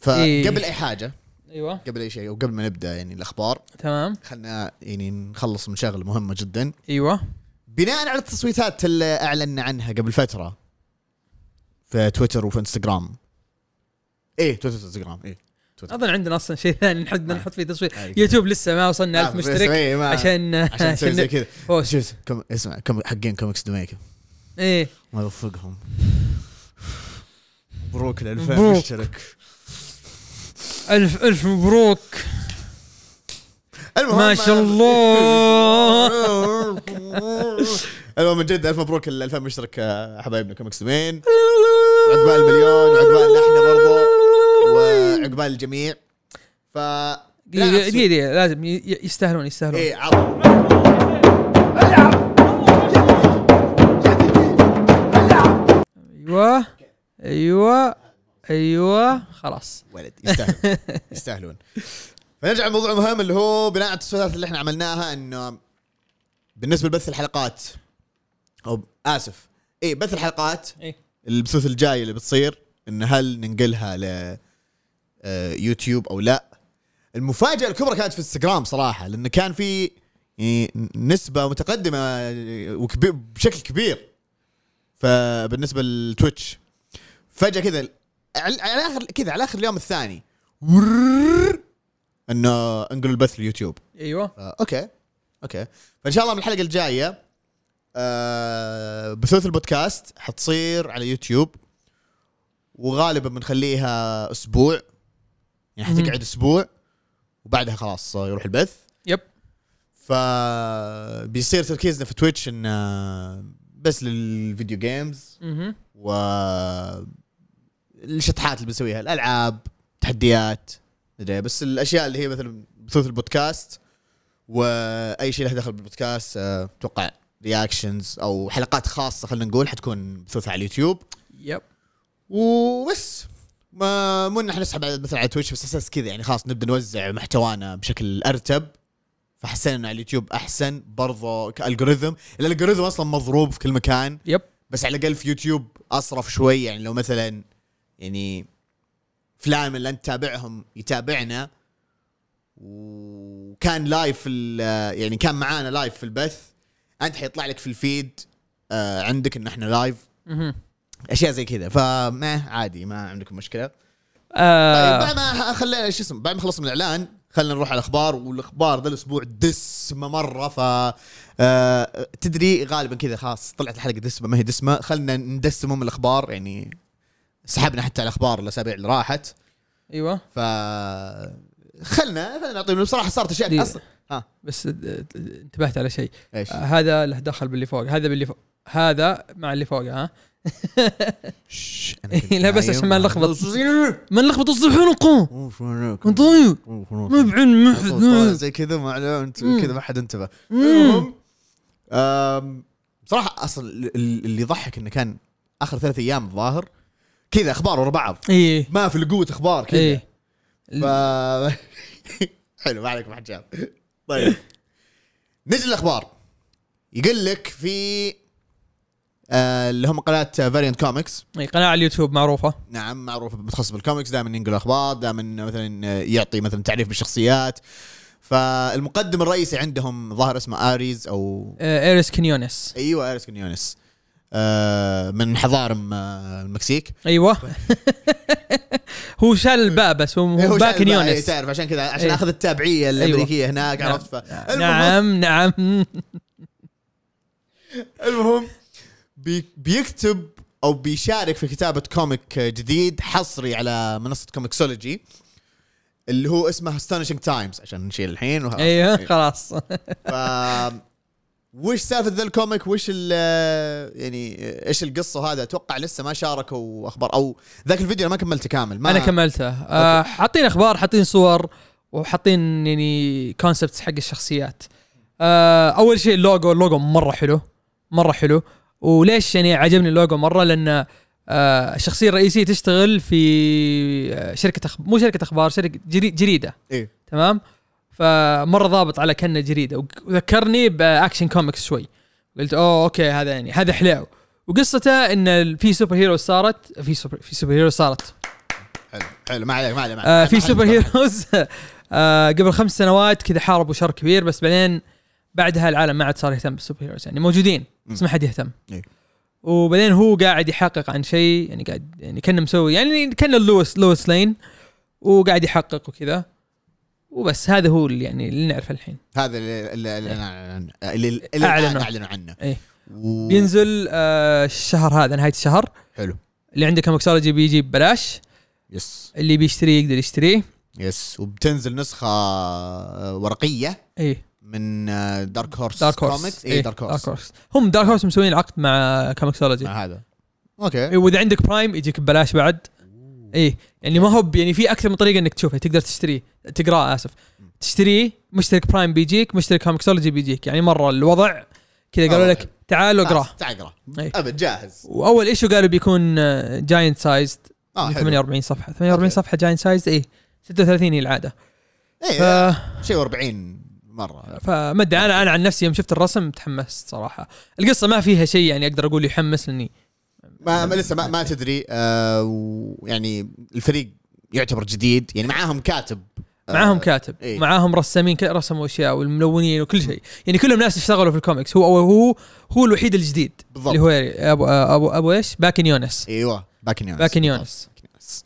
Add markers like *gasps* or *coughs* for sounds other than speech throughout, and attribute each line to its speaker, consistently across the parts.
Speaker 1: فقبل
Speaker 2: إيه.
Speaker 1: اي حاجه
Speaker 2: ايوه
Speaker 1: قبل اي شيء وقبل ما نبدا يعني الاخبار
Speaker 2: تمام
Speaker 1: خلنا يعني نخلص من شغله مهمه جدا
Speaker 2: ايوه
Speaker 1: بناء على التصويتات اللي اعلنا عنها قبل فتره في تويتر وفي انستغرام ايه تويتر وانستغرام ايه
Speaker 2: اظن عندنا اصلا شيء ثاني نحط
Speaker 1: آه.
Speaker 2: نحط فيه تصوير
Speaker 1: أي.
Speaker 2: يوتيوب لسه ما وصلنا ألف
Speaker 1: آه، بس
Speaker 2: مشترك
Speaker 1: إيه، ما-
Speaker 2: عشان
Speaker 1: عشان نسوي زي كذا
Speaker 2: بوست.
Speaker 1: شوف كم اسمع كم حقين كوميكس دوميك
Speaker 2: ايه
Speaker 1: الله يوفقهم مبروك ال 2000
Speaker 2: مبروك.
Speaker 1: مشترك
Speaker 2: الف الف مبروك
Speaker 1: المهم
Speaker 2: ما شاء الله.
Speaker 1: *laughs* المهم من جد الف مبروك ال 2000 مشترك آه، حبايبنا كوميكس دومين عقبال المليون وعقبال احنا برضو وعقبال الجميع ف
Speaker 2: دقيقة دقيقة لازم ي- ي- يستاهلون يستاهلون
Speaker 1: ايه عطوا
Speaker 2: ايوه ايوه ايوه خلاص
Speaker 1: ولد
Speaker 2: *laughs*
Speaker 1: يستاهلون يستاهلون فنرجع للموضوع المهم اللي هو بناء على التصويتات اللي احنا عملناها انه بالنسبه لبث الحلقات او اسف اي بث الحلقات
Speaker 2: ايه
Speaker 1: البثوث الجايه اللي بتصير ان هل ننقلها ل آه، يوتيوب او لا المفاجاه الكبرى كانت في انستغرام صراحه لان كان في يعني نسبه متقدمه وكبير بشكل كبير فبالنسبه لتويتش فجاه كذا على على اخر كذا على اخر اليوم الثاني ورررر، انه انقل البث لليوتيوب
Speaker 2: ايوه
Speaker 1: آه، اوكي اوكي فان شاء الله من الحلقه الجايه آه بثوث البودكاست حتصير على يوتيوب وغالبا بنخليها اسبوع يعني
Speaker 2: مهم.
Speaker 1: حتقعد اسبوع وبعدها خلاص آه، يروح البث
Speaker 2: يب
Speaker 1: ف بيصير تركيزنا في تويتش انه بس للفيديو جيمز
Speaker 2: مهم.
Speaker 1: و الشطحات اللي بنسويها الالعاب تحديات مدري بس الاشياء اللي هي مثلا بثوث البودكاست واي شيء له دخل بالبودكاست آه، اتوقع رياكشنز او حلقات خاصه خلينا نقول حتكون بثوثها على اليوتيوب
Speaker 2: يب
Speaker 1: وبس ما مو ان احنا نسحب على- مثلا على تويتش بس اساس كذا يعني خلاص نبدا نوزع محتوانا بشكل ارتب فحسينا انه على اليوتيوب احسن برضه كالجوريثم الالجوريثم اصلا مضروب في كل مكان
Speaker 2: يب
Speaker 1: بس على الاقل في يوتيوب اصرف شوي يعني لو مثلا يعني فلان من اللي انت تتابعهم يتابعنا وكان لايف في ال- يعني كان معانا لايف في البث انت حيطلع لك في الفيد آه، عندك ان احنا لايف
Speaker 2: مهم.
Speaker 1: اشياء زي كذا فما عادي ما عندكم مشكله طيب
Speaker 2: آه
Speaker 1: بعد ما خلينا شو اسمه بعد ما خلصنا من الاعلان خلينا نروح على الاخبار والاخبار ذا الاسبوع دسمه مره ف آه، تدري غالبا كذا خلاص طلعت الحلقه دسمه ما هي دسمه خلينا ندسمهم الاخبار يعني سحبنا حتى على الاخبار الاسابيع اللي راحت
Speaker 2: ايوه
Speaker 1: ف خلنا خلنا نعطيهم بصراحه صارت اشياء
Speaker 2: دي-
Speaker 1: اصلا ها
Speaker 2: بس آه، انتبهت على شيء
Speaker 1: ايش
Speaker 2: آه، هذا له دخل باللي فوق هذا باللي فوق هذا مع اللي فوق ها *laughs*
Speaker 1: شش، أنا كنت
Speaker 2: لا بس
Speaker 1: نايم.
Speaker 2: عشان
Speaker 1: *laughs*
Speaker 2: ما نلخبط ما نلخبط الصحون
Speaker 1: أيوه. أوف، أوف، أوف.
Speaker 2: طيب
Speaker 1: أوف،
Speaker 2: ما
Speaker 1: أوف.
Speaker 2: بعلم ما *coughs*
Speaker 1: طالع
Speaker 2: حد
Speaker 1: زي كذا ما عليه انت
Speaker 2: مم.
Speaker 1: كذا ما حد انتبه
Speaker 2: مم.
Speaker 1: المهم آم، بصراحه اصلا ال- ال- اللي يضحك انه كان اخر ثلاث ايام الظاهر كذا اخبار ورا بعض
Speaker 2: ايه
Speaker 1: ما في لقوه اخبار كذا
Speaker 2: ايه
Speaker 1: ف... *laughs* حلو ما عليك ما حد شاف طيب نجي الاخبار يقول لك في آه، اللي هم قناه فاريانت كوميكس
Speaker 2: إيه، قناه على اليوتيوب معروفه
Speaker 1: نعم معروف متخصص بالكوميكس دائما ينقل اخبار دائما مثلا يعطي مثلا تعريف بالشخصيات فالمقدم الرئيسي عندهم ظاهر اسمه اريز او
Speaker 2: آه، ايريس كنيونس
Speaker 1: ايوه اريز كنيونس آه من حضارم آه، المكسيك
Speaker 2: ايوه *laughs* هو شال الباء بس هو
Speaker 1: إيه،
Speaker 2: هو
Speaker 1: شايل
Speaker 2: باء
Speaker 1: بقى، إيه،
Speaker 2: كنيونس
Speaker 1: تعرف عشان كذا عشان
Speaker 2: إيه.
Speaker 1: اخذ التابعيه الامريكيه هناك
Speaker 2: نعم.
Speaker 1: عرفت فالمهم
Speaker 2: نعم نعم
Speaker 1: المهم بي بيكتب او بيشارك في كتابه كوميك جديد حصري على منصه كوميكسولوجي اللي هو اسمه ستانشنج تايمز عشان نشيل الحين وخلاص.
Speaker 2: ايوه خلاص
Speaker 1: ف وش سالفه ذا الكوميك وش ال يعني ايش القصه وهذا اتوقع لسه ما شاركوا اخبار او ذاك الفيديو انا ما كملته كامل ما
Speaker 2: انا كملته آه، حاطين اخبار حاطين صور وحاطين يعني كونسبتس حق الشخصيات آه، اول شيء اللوجو اللوجو مره حلو مره حلو وليش يعني عجبني اللوجو مره لان آه، الشخصيه الرئيسيه تشتغل في آه، شركه أخ... مو شركه اخبار شركه جري... جريده
Speaker 1: ايه
Speaker 2: تمام فمره ضابط على كنا جريده وك- وذكرني باكشن كوميكس شوي قلت اوه اوكي هذا يعني هذا حلاو وقصته ان ال- في سوبر هيرو صارت في سوبر في سوبر هيرو صارت
Speaker 1: حلو حلو ما عليك ما عليك ما
Speaker 2: آه
Speaker 1: عليك.
Speaker 2: في
Speaker 1: ما
Speaker 2: سوبر
Speaker 1: حد-
Speaker 2: هيروز *laughs* آه قبل خمس سنوات كذا حاربوا شر كبير بس بعدين بعدها العالم ما عاد صار يهتم بالسوبر هيروز يعني موجودين بس ما حد يهتم
Speaker 1: إيه.
Speaker 2: وبعدين هو قاعد يحقق عن شيء يعني قاعد يعني كان مسوي يعني كان لويس لويس لين وقاعد يحقق وكذا وبس هذا هو اللي يعني اللي نعرفه الحين
Speaker 1: هذا اللي اللي اللي أنا- اللي- اللي أعلنوا
Speaker 2: أعلنوا.
Speaker 1: اعلنوا عنه
Speaker 2: إيه.
Speaker 1: و-
Speaker 2: بينزل آه الشهر هذا نهايه الشهر
Speaker 1: حلو
Speaker 2: اللي عنده كمكسولوجي بيجي ببلاش
Speaker 1: يس
Speaker 2: اللي بيشتريه يقدر يشتريه
Speaker 1: يس وبتنزل نسخه آه، ورقيه
Speaker 2: اي
Speaker 1: من دارك هورس
Speaker 2: دارك هورس
Speaker 1: كوميكس اي دارك هورس
Speaker 2: إيه، هم دارك هورس مسوين العقد مع كمكسولوجي
Speaker 1: مع هذا اوكي
Speaker 2: إيه، واذا عندك برايم يجيك ببلاش بعد اي يعني ما هو ب- يعني في اكثر من طريقه انك تشوفه تقدر تشتريه تقراه اسف تشتريه مشترك برايم بيجيك مشترك كوميكسولوجي بيجيك يعني مره الوضع كذا قالوا
Speaker 1: آه،
Speaker 2: لك تعال واقراه
Speaker 1: آه، تعال اقرا
Speaker 2: إيه.
Speaker 1: ابد جاهز
Speaker 2: واول ايشو قالوا بيكون آه، جاينت سايزد
Speaker 1: اه حلو
Speaker 2: 48 صفحه 48
Speaker 1: أوكي.
Speaker 2: صفحه جاينت سايزد اي 36 إيه، هي العاده
Speaker 1: اي
Speaker 2: ف...
Speaker 1: إيه، شيء 40 مره
Speaker 2: فما ادري انا انا عن نفسي يوم شفت الرسم تحمست صراحه القصه ما فيها شيء يعني اقدر اقول يحمس لاني
Speaker 1: ما ما لسه ما, ما تدري آه ويعني الفريق يعتبر جديد يعني معاهم كاتب آه،
Speaker 2: معاهم كاتب
Speaker 1: إيه.
Speaker 2: إيه؟ معاهم رسامين ك- رسموا اشياء والملونين وكل شيء يعني كلهم ناس اشتغلوا في الكوميكس هو هو هو الوحيد الجديد
Speaker 1: بالضبط.
Speaker 2: اللي هو يعني ابو ابو ابو ايش باكن يونس
Speaker 1: ايوه باكن يونس
Speaker 2: باكن يونس
Speaker 1: يونس.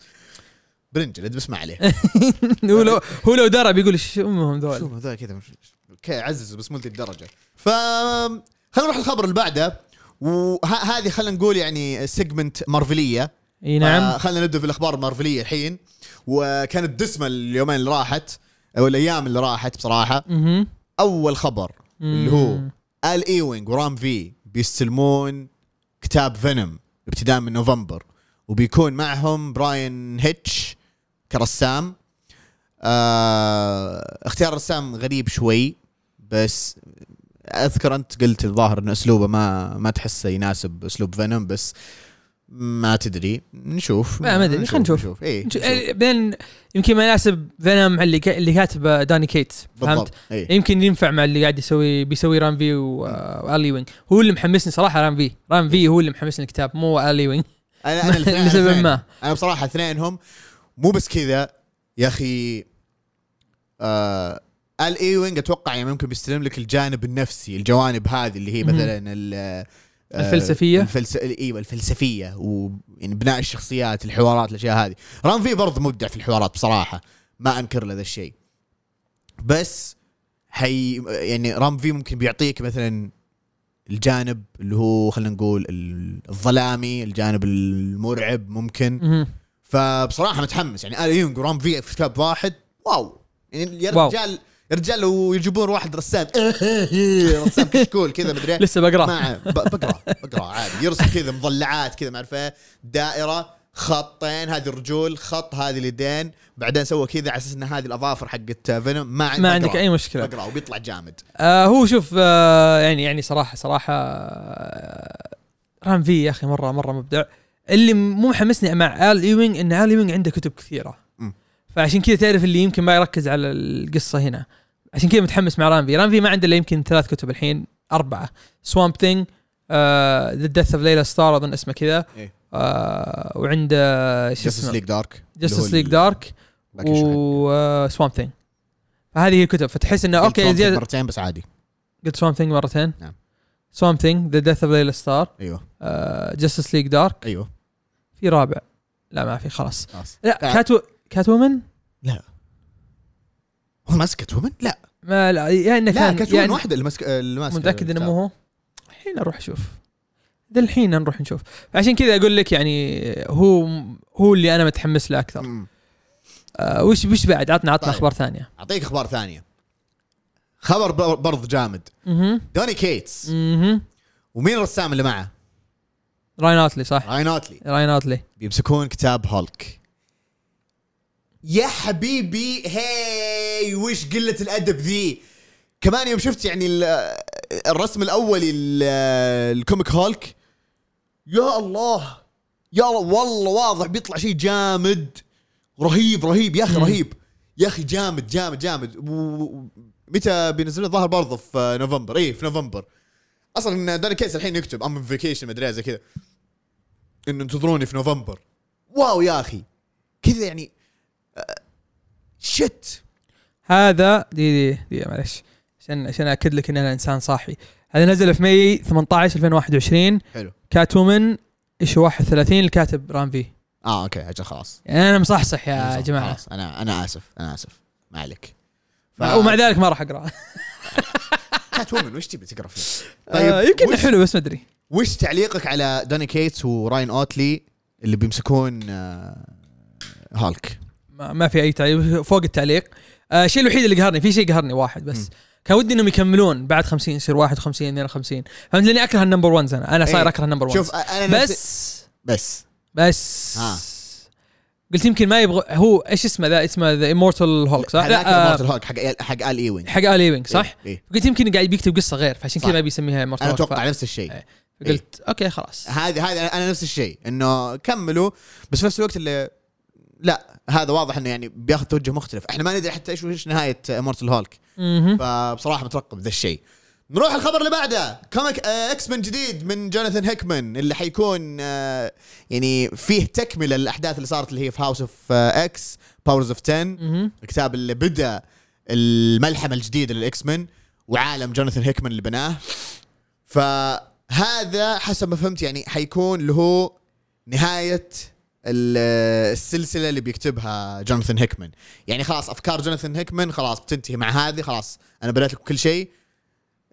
Speaker 1: برنجل بس ما عليه
Speaker 2: *laughs* هو لو هو لو درى بيقول ايش امهم ذول
Speaker 1: شوف هذا كذا مش... اوكي عززوا بس مو لذي الدرجه ف خلينا نروح الخبر اللي بعده وهذه خلينا نقول يعني سيجمنت مارفليه
Speaker 2: اي نعم
Speaker 1: آه، خلينا نبدا في الاخبار المارفليه الحين وكانت دسمه اليومين اللي راحت او الايام اللي راحت بصراحه
Speaker 2: مهم.
Speaker 1: اول خبر اللي هو
Speaker 2: مم.
Speaker 1: ال ايوينج ورام في بيستلمون كتاب فينوم ابتداء من نوفمبر وبيكون معهم براين هيتش كرسام آه اختيار الرسام غريب شوي بس اذكر انت قلت الظاهر ان اسلوبه ما ما تحسه يناسب اسلوب فينوم بس ما تدري نشوف
Speaker 2: ما- ما أدري، خلينا نشوف.
Speaker 1: نشوف اي
Speaker 2: نشو- آه، بعدين يمكن ما يناسب فينوم اللي ك- اللي كاتبه داني كيت فهمت
Speaker 1: بالضبط إيه. اي
Speaker 2: يمكن ينفع مع اللي قاعد يسوي بيسوي ران في و- آه، والي وينج هو اللي محمسني صراحه ران في ران
Speaker 1: إيه.
Speaker 2: في هو اللي محمسني الكتاب مو الي وينج
Speaker 1: انا انا الاثنين- أنا
Speaker 2: لسبب
Speaker 1: الاثنين.
Speaker 2: ما.
Speaker 1: انا بصراحه اثنينهم مو بس كذا يا اخي آه ال ايوينج اتوقع يعني ممكن بيستلم لك الجانب النفسي الجوانب هذه اللي هي
Speaker 2: مهم.
Speaker 1: مثلا ال- آه،
Speaker 2: الفلسفية.
Speaker 1: الفلس... ايوه الفلسفيه ويعني يعني بناء الشخصيات الحوارات الاشياء هذه رام في برضه مبدع في الحوارات بصراحه ما انكر له ذا الشيء بس حي يعني رام في ممكن بيعطيك مثلا الجانب اللي هو خلينا نقول الظلامي الجانب المرعب ممكن
Speaker 2: مهم.
Speaker 1: فبصراحه متحمس يعني ال يونغ ورام في في كتاب واحد واو يعني يا
Speaker 2: واو.
Speaker 1: رجال يا رجال لو يجيبون واحد رسام إيه، رسام كشكول كذا مدري إيه.
Speaker 2: *laughs* لسه بقراه
Speaker 1: ما ب- بقرا بقرا عادي يرسم كذا مضلعات كذا ما اعرف إيه، دائره خطين هذه الرجول خط هذه اليدين بعدين سوى كذا على اساس ان هذه الاظافر حقت فينوم ما عندي
Speaker 2: ما
Speaker 1: بقرأ.
Speaker 2: عندك اي مشكله
Speaker 1: بقرا وبيطلع جامد
Speaker 2: آه هو شوف آه يعني يعني صراحه صراحه آه رام في يا اخي مره مره مبدع اللي مو محمسني مع ال ايوينج ان ال ايوينج عنده كتب كثيره
Speaker 1: مم.
Speaker 2: فعشان كذا تعرف اللي يمكن ما يركز على القصه هنا عشان كذا متحمس مع رام في رام في ما عنده الا يمكن ثلاث كتب الحين اربعه سوامب ثينج ذا ديث اوف ليلا ستار اظن اسمه كذا
Speaker 1: إيه.
Speaker 2: آه وعنده شو
Speaker 1: جاستس
Speaker 2: اسمه
Speaker 1: ليج دارك
Speaker 2: جاستس ليج دارك وسوامب ثينج آه، فهذه هي الكتب فتحس
Speaker 1: إيه،
Speaker 2: انه اوكي
Speaker 1: اوكي
Speaker 2: زياده
Speaker 1: مرتين بس عادي
Speaker 2: قلت سوام ثينج مرتين
Speaker 1: نعم.
Speaker 2: سوام ثينج ذا ديث اوف ليلا ستار
Speaker 1: ايوه
Speaker 2: جاستس ليج دارك
Speaker 1: ايوه
Speaker 2: في رابع لا ما في خلاص
Speaker 1: خلاص
Speaker 2: لا
Speaker 1: آه.
Speaker 2: كات كات وومن
Speaker 1: هو ماسكت ومن لا
Speaker 2: ما لا يا انه
Speaker 1: لا
Speaker 2: كان
Speaker 1: كانت
Speaker 2: *laughs* يعني
Speaker 1: يعني واحده اللي ماسك اللي ماسكه
Speaker 2: متاكد انه
Speaker 1: الكتاب.
Speaker 2: مو هو الحين اروح اشوف ذا الحين نروح نشوف عشان كذا اقول لك يعني هو هو اللي انا متحمس له اكثر
Speaker 1: مم.
Speaker 2: آه وش وش بعد عطنا عطنا
Speaker 1: طيب.
Speaker 2: اخبار ثانيه
Speaker 1: اعطيك اخبار ثانيه خبر بر- برضه جامد
Speaker 2: اها
Speaker 1: دوني كيتس
Speaker 2: اها
Speaker 1: ومين الرسام اللي معه؟
Speaker 2: راين اوتلي صح
Speaker 1: راين اوتلي
Speaker 2: راين اوتلي
Speaker 1: بيمسكون كتاب هولك يا حبيبي هاي وش قلة الأدب ذي كمان يوم شفت يعني ال- الرسم الأولي ال- الكوميك هولك يا الله يا الله والله واضح بيطلع شيء جامد رهيب رهيب يا أخي
Speaker 2: مم.
Speaker 1: رهيب يا أخي جامد جامد جامد و- و- متى بينزلونه الظاهر برضه في نوفمبر اي في نوفمبر اصلا ان داني كيس الحين يكتب ام فيكيشن مدري إيه زي كذا انه انتظروني في نوفمبر واو يا اخي كذا يعني شت
Speaker 2: هذا دي دي, دي معلش عشان عشان اكد لك ان انا انسان صاحي هذا نزل في ماي 18 2021
Speaker 1: حلو
Speaker 2: كات وومن ايشو 31 الكاتب رام في
Speaker 1: اه اوكي اجل خلاص
Speaker 2: يعني انا مصحصح يا
Speaker 1: خلاص،
Speaker 2: جماعه
Speaker 1: خلاص انا انا اسف انا اسف ما عليك ف- *laughs*
Speaker 2: مع- ومع ذلك ما راح اقرا
Speaker 1: كات وومن وش تبي تقرا فيه؟
Speaker 2: آه، *laughs* يمكن
Speaker 1: طيب، وش,
Speaker 2: حلو بس ما ادري
Speaker 1: وش تعليقك على دوني كيتس وراين اوتلي اللي بيمسكون آه، هالك
Speaker 2: ما ما في اي تعليق فوق التعليق آه، الشيء الوحيد اللي قهرني في شيء قهرني واحد بس كان ودي انهم يكملون بعد 50 يصير 51 52 فهمت لاني اكره النمبر 1 انا انا صاير
Speaker 1: إيه.
Speaker 2: اكره النمبر 1
Speaker 1: شوف انا نفسي-
Speaker 2: بس
Speaker 1: بس
Speaker 2: بس
Speaker 1: ها.
Speaker 2: قلت يمكن ما يبغى هو ايش اسمه ذا اسمه ذا امورتال هولك صح؟
Speaker 1: هذاك
Speaker 2: لا آه،
Speaker 1: مارتل هوك حق حق ال ايوينج
Speaker 2: حق ال ايبنج صح؟
Speaker 1: إيه. إيه.
Speaker 2: قلت يمكن قاعد بيكتب قصه غير فعشان كذا
Speaker 1: صح.
Speaker 2: ما بيسميها امورتال
Speaker 1: انا
Speaker 2: هولك
Speaker 1: اتوقع نفس الشيء
Speaker 2: إيه. قلت اوكي خلاص
Speaker 1: هذه هذه انا نفس الشيء انه كملوا بس في نفس الوقت اللي لا هذا واضح انه يعني بياخذ توجه مختلف احنا ما ندري حتى ايش وش نهايه مورتل هولك
Speaker 2: مهم.
Speaker 1: فبصراحه مترقب ذا الشيء نروح الخبر اللي بعده كوميك آه، اكس من جديد من جوناثان هيكمان اللي حيكون آه، يعني فيه تكمله للاحداث اللي صارت اللي هي في آه، هاوس اوف اكس باورز اوف 10
Speaker 2: مهم.
Speaker 1: الكتاب اللي بدا الملحمه الجديده للاكس مان وعالم جوناثان هيكمان اللي بناه فهذا حسب ما فهمت يعني حيكون اللي هو نهايه ال- السلسله اللي بيكتبها جوناثان هيكمان يعني خلاص افكار جوناثان هيكمان خلاص بتنتهي مع هذه خلاص انا بنيت لكم كل شيء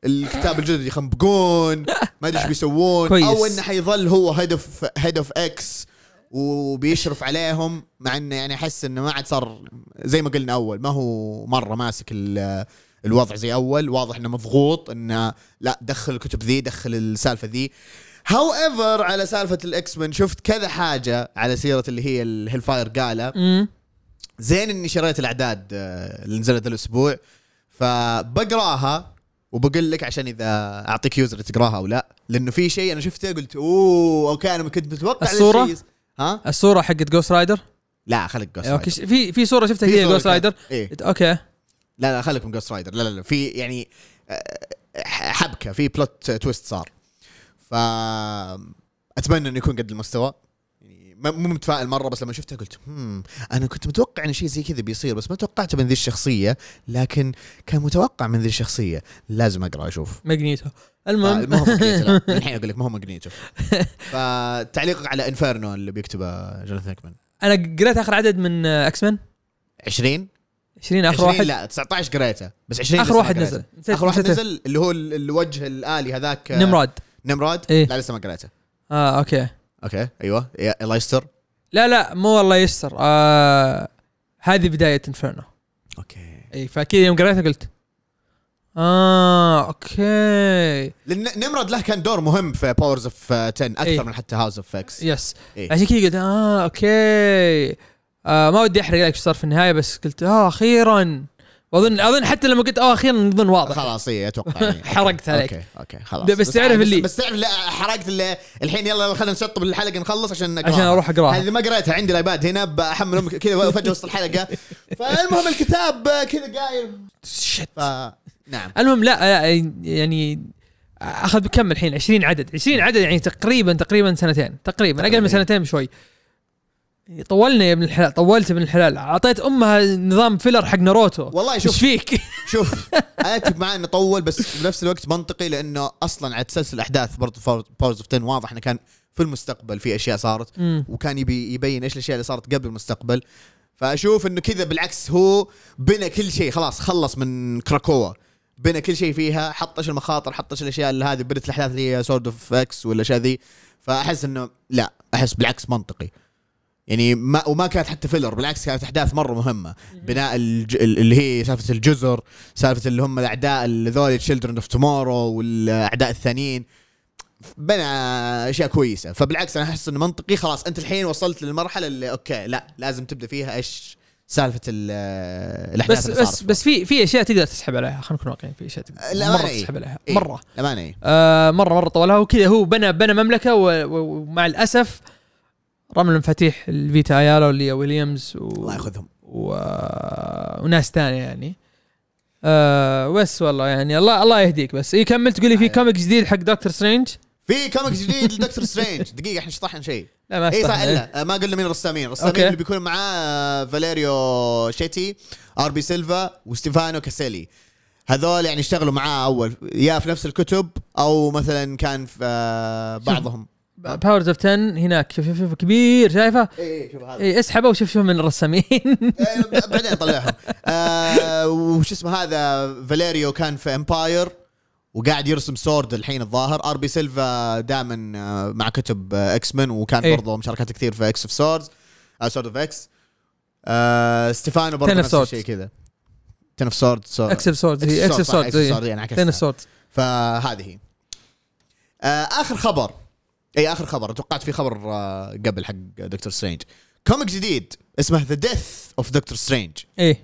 Speaker 1: الكتاب الجدد يخنبقون ما ادري ايش بيسوون
Speaker 2: كويس.
Speaker 1: او انه حيظل هو هيد اوف هيد اوف اكس وبيشرف عليهم مع انه يعني احس انه ما عاد صار زي ما قلنا اول ما هو مره ماسك ال- الوضع زي اول واضح انه مضغوط انه لا دخل الكتب ذي دخل السالفه ذي هاو ايفر على سالفه الاكس مان شفت كذا حاجه على سيره اللي هي الهيلفاير جالا
Speaker 2: مم.
Speaker 1: زين اني شريت الاعداد آه، اللي نزلت ذا الاسبوع فبقراها وبقول لك عشان اذا اعطيك يوزر تقراها او لا لانه في شيء انا شفته قلت اوه اوكي انا كنت متوقع
Speaker 2: الصورة؟
Speaker 1: للشيء- ها
Speaker 2: الصوره حقت جوست رايدر
Speaker 1: لا خليك جوست
Speaker 2: اوكي
Speaker 1: رايدر
Speaker 2: ش- في في صوره شفتها
Speaker 1: في
Speaker 2: كذا
Speaker 1: صورة
Speaker 2: جوست
Speaker 1: كانت-
Speaker 2: رايدر
Speaker 1: إيه.
Speaker 2: قلت اوكي
Speaker 1: لا لا خليك من جوست رايدر لا لا لا في يعني آه، حبكه في بلوت تويست صار ف اتمنى انه يكون قد المستوى يعني ما- مو متفائل مره بس لما شفتها قلت هم انا كنت متوقع ان شيء زي كذا بيصير بس ما توقعته من ذي الشخصيه لكن كان متوقع من ذي الشخصيه لازم اقرا اشوف
Speaker 2: ماجنيتو
Speaker 1: آه،
Speaker 2: المهم
Speaker 1: ما هو ماجنيتو لا من الحين اقول لك ما هو
Speaker 2: *laughs*
Speaker 1: ماجنيتو فتعليقك على انفيرنو اللي بيكتبه جوناثان هيكمان
Speaker 2: انا قريت اخر عدد من اكس مان
Speaker 1: 20
Speaker 2: 20 اخر
Speaker 1: 20
Speaker 2: واحد
Speaker 1: لا 19 قريته بس 20 لسه
Speaker 2: اخر
Speaker 1: ما
Speaker 2: واحد
Speaker 1: قريته.
Speaker 2: نزل نسيت-
Speaker 1: اخر واحد
Speaker 2: نسيت-
Speaker 1: نزل اللي هو ال- الوجه الالي هذاك آه،
Speaker 2: نمراد
Speaker 1: نمراد
Speaker 2: إيه.
Speaker 1: لا لسه ما قريته
Speaker 2: اه اوكي
Speaker 1: اوكي ايوه يا- الله يستر
Speaker 2: لا لا مو والله يستر آه هذه بدايه انفيرنو
Speaker 1: اوكي
Speaker 2: اي فاكيد إيه، يوم قريتها قلت اه اوكي
Speaker 1: لان نمراد له كان دور مهم في باورز اوف 10 اكثر
Speaker 2: إيه.
Speaker 1: من حتى هاوس اوف اكس
Speaker 2: يس
Speaker 1: إيه.
Speaker 2: عشان كذا قلت اه اوكي آه ما ودي احرق لك ايش صار في النهايه بس قلت اه اخيرا واظن اظن حتى لما قلت اه اخيرا اظن واضح
Speaker 1: خلاص اي اتوقع يعني.
Speaker 2: *laughs* حرقت عليك.
Speaker 1: اوكي اوكي خلاص
Speaker 2: ده بس تعرف
Speaker 1: عاد-
Speaker 2: اللي-
Speaker 1: بس تعرف لا حرقت اللي الحين يلا يلا خلينا نشطب الحلقه نخلص عشان نقراها.
Speaker 2: عشان اروح اقراها
Speaker 1: هذه ما قريتها عندي الايباد هنا بحمل أمك كذا فجاه وسط
Speaker 2: *laughs*
Speaker 1: الحلقه فالمهم الكتاب آه، كذا قايل
Speaker 2: شت.
Speaker 1: ف نعم
Speaker 2: المهم لا لا، يعني اخذ بكم الحين 20 عدد 20 عدد يعني تقريبا تقريبا سنتين تقريبا اقل
Speaker 1: تقريباً.
Speaker 2: من سنتين بشوي طولنا يا ابن الحلال طولت يا ابن الحلال اعطيت امها نظام فيلر حق ناروتو
Speaker 1: والله شوف
Speaker 2: ايش فيك
Speaker 1: شوف انا اتفق معاه انه طول بس بنفس الوقت منطقي لانه اصلا على تسلسل احداث برضه باورز اوف 10 واضح انه كان في المستقبل في اشياء صارت
Speaker 2: مم.
Speaker 1: وكان يبي يبين ايش الاشياء اللي صارت قبل المستقبل فاشوف انه كذا بالعكس هو بنى كل شيء خلاص خلص من كراكووا بنى كل شيء فيها حط ايش المخاطر حط ايش الاشياء اللي هذه بنت الاحداث اللي هي سورد اوف اكس والاشياء ذي فاحس انه لا احس بالعكس منطقي يعني ما وما كانت حتى فيلر بالعكس كانت احداث مره مهمه بناء الج... اللي هي سالفه الجزر سالفه اللي هم الاعداء اللي ذول تشيلدرن اوف تومورو والاعداء الثانيين بنى اشياء كويسه فبالعكس انا احس انه منطقي خلاص انت الحين وصلت للمرحله اللي اوكي لا لازم تبدا فيها ايش سالفه ال- الاحداث
Speaker 2: بس
Speaker 1: اللي صارت
Speaker 2: بس بس في في اشياء تقدر تسحب عليها خلينا نكون واقعيين في اشياء تقدر
Speaker 1: لا، ما
Speaker 2: مره
Speaker 1: أنا إيه.
Speaker 2: تسحب عليها
Speaker 1: إيه.
Speaker 2: مره
Speaker 1: للامانه إيه.
Speaker 2: آه مره مره طولها وكذا هو بنى بنى مملكه و- و- ومع الاسف رمل مفاتيح الفيتا ايالا واللي ويليامز و...
Speaker 1: الله ياخذهم
Speaker 2: و... وناس ثانيه يعني إيه،
Speaker 1: أيوه.
Speaker 2: آه بس والله يعني الله الله يهديك بس اي كملت تقولي في كوميك جديد حق دكتور سترينج
Speaker 1: في كوميك جديد لدكتور سترينج دقيقه احنا شطحنا شيء
Speaker 2: لا ما
Speaker 1: اي صح
Speaker 2: فتحنا.
Speaker 1: الا آه، ما قلنا مين الرسامين الرسامين
Speaker 2: إيه. أوكي.
Speaker 1: اللي بيكون معاه آه، فاليريو شيتي ار بي سيلفا وستيفانو كاسيلي هذول يعني اشتغلوا معاه اول يا في نفس الكتب او مثلا كان في آه، بعضهم
Speaker 2: باورز اوف 10 هناك شوف شوف شوف كبير شايفه؟
Speaker 1: اي اي إيه، شوف هذا
Speaker 2: اي اسحبه وشوف شوف
Speaker 1: *laughs*
Speaker 2: من الرسامين
Speaker 1: إيه، ب- بعدين طلعهم آه، وش اسمه هذا فاليريو كان في امباير وقاعد يرسم سورد الحين الظاهر ار بي سيلفا دائما آه، مع كتب اكس مان وكان
Speaker 2: إيه.
Speaker 1: برضه مشاركات كثير في اكس اوف سوردز سورد اوف اكس ستيفانو برضه
Speaker 2: Ten of
Speaker 1: آه، نفس
Speaker 2: Swords.
Speaker 1: الشيء كذا تن اوف سورد
Speaker 2: اكس اوف سورد اكس اوف سورد
Speaker 1: يعني
Speaker 2: تين اوف سورد
Speaker 1: فهذه هي. آه، اخر خبر اي اخر خبر توقعت في خبر آه، قبل حق دكتور سترينج كوميك جديد اسمه ذا ديث اوف دكتور سترينج
Speaker 2: ايه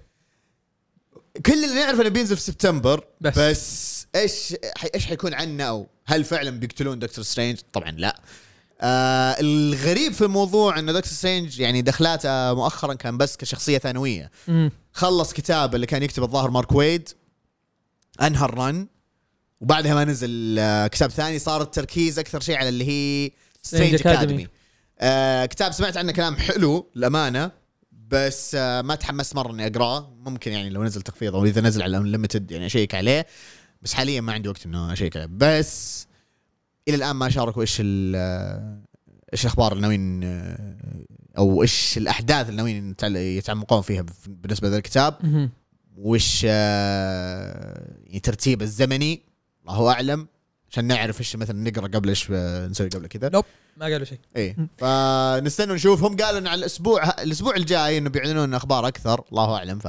Speaker 1: كل اللي نعرفه انه بينزل في سبتمبر بس,
Speaker 2: بس.
Speaker 1: بس ايش حي- ايش حيكون عنه او هل فعلا بيقتلون دكتور سترينج؟ طبعا لا. آه الغريب في الموضوع ان دكتور سترينج يعني دخلاته مؤخرا كان بس كشخصيه ثانويه،
Speaker 2: أمم.
Speaker 1: خلص كتاب اللي كان يكتب الظاهر مارك ويد انهى الرن وبعدها ما نزل آه، كتاب ثاني صار التركيز اكثر شيء على اللي هي
Speaker 2: Strange
Speaker 1: سترينج
Speaker 2: Academy.
Speaker 1: اكاديمي. آه كتاب سمعت عنه كلام حلو للامانه بس آه ما تحمست مره اني اقراه ممكن يعني لو نزل تخفيض او اذا نزل على انليمتد يعني اشيك عليه بس حاليا ما عندي وقت انه اشيك عليه بس الى الان ما شاركوا ايش ال- آه، ايش الاخبار اللي ناويين آه، او ايش الاحداث اللي ناويين يتعل- يتعمقون فيها بالنسبه للكتاب
Speaker 2: أمم.
Speaker 1: وش آه، يعني ترتيبه الزمني الله اعلم عشان نعرف ايش مثلا نقرا قبل ايش آه، نسوي قبل كذا
Speaker 2: نوب ما قالوا شيء
Speaker 1: اي إيه. فنستنى نشوف هم قالوا إن على الاسبوع الاسبوع الجاي انه بيعلنون اخبار اكثر الله اعلم ف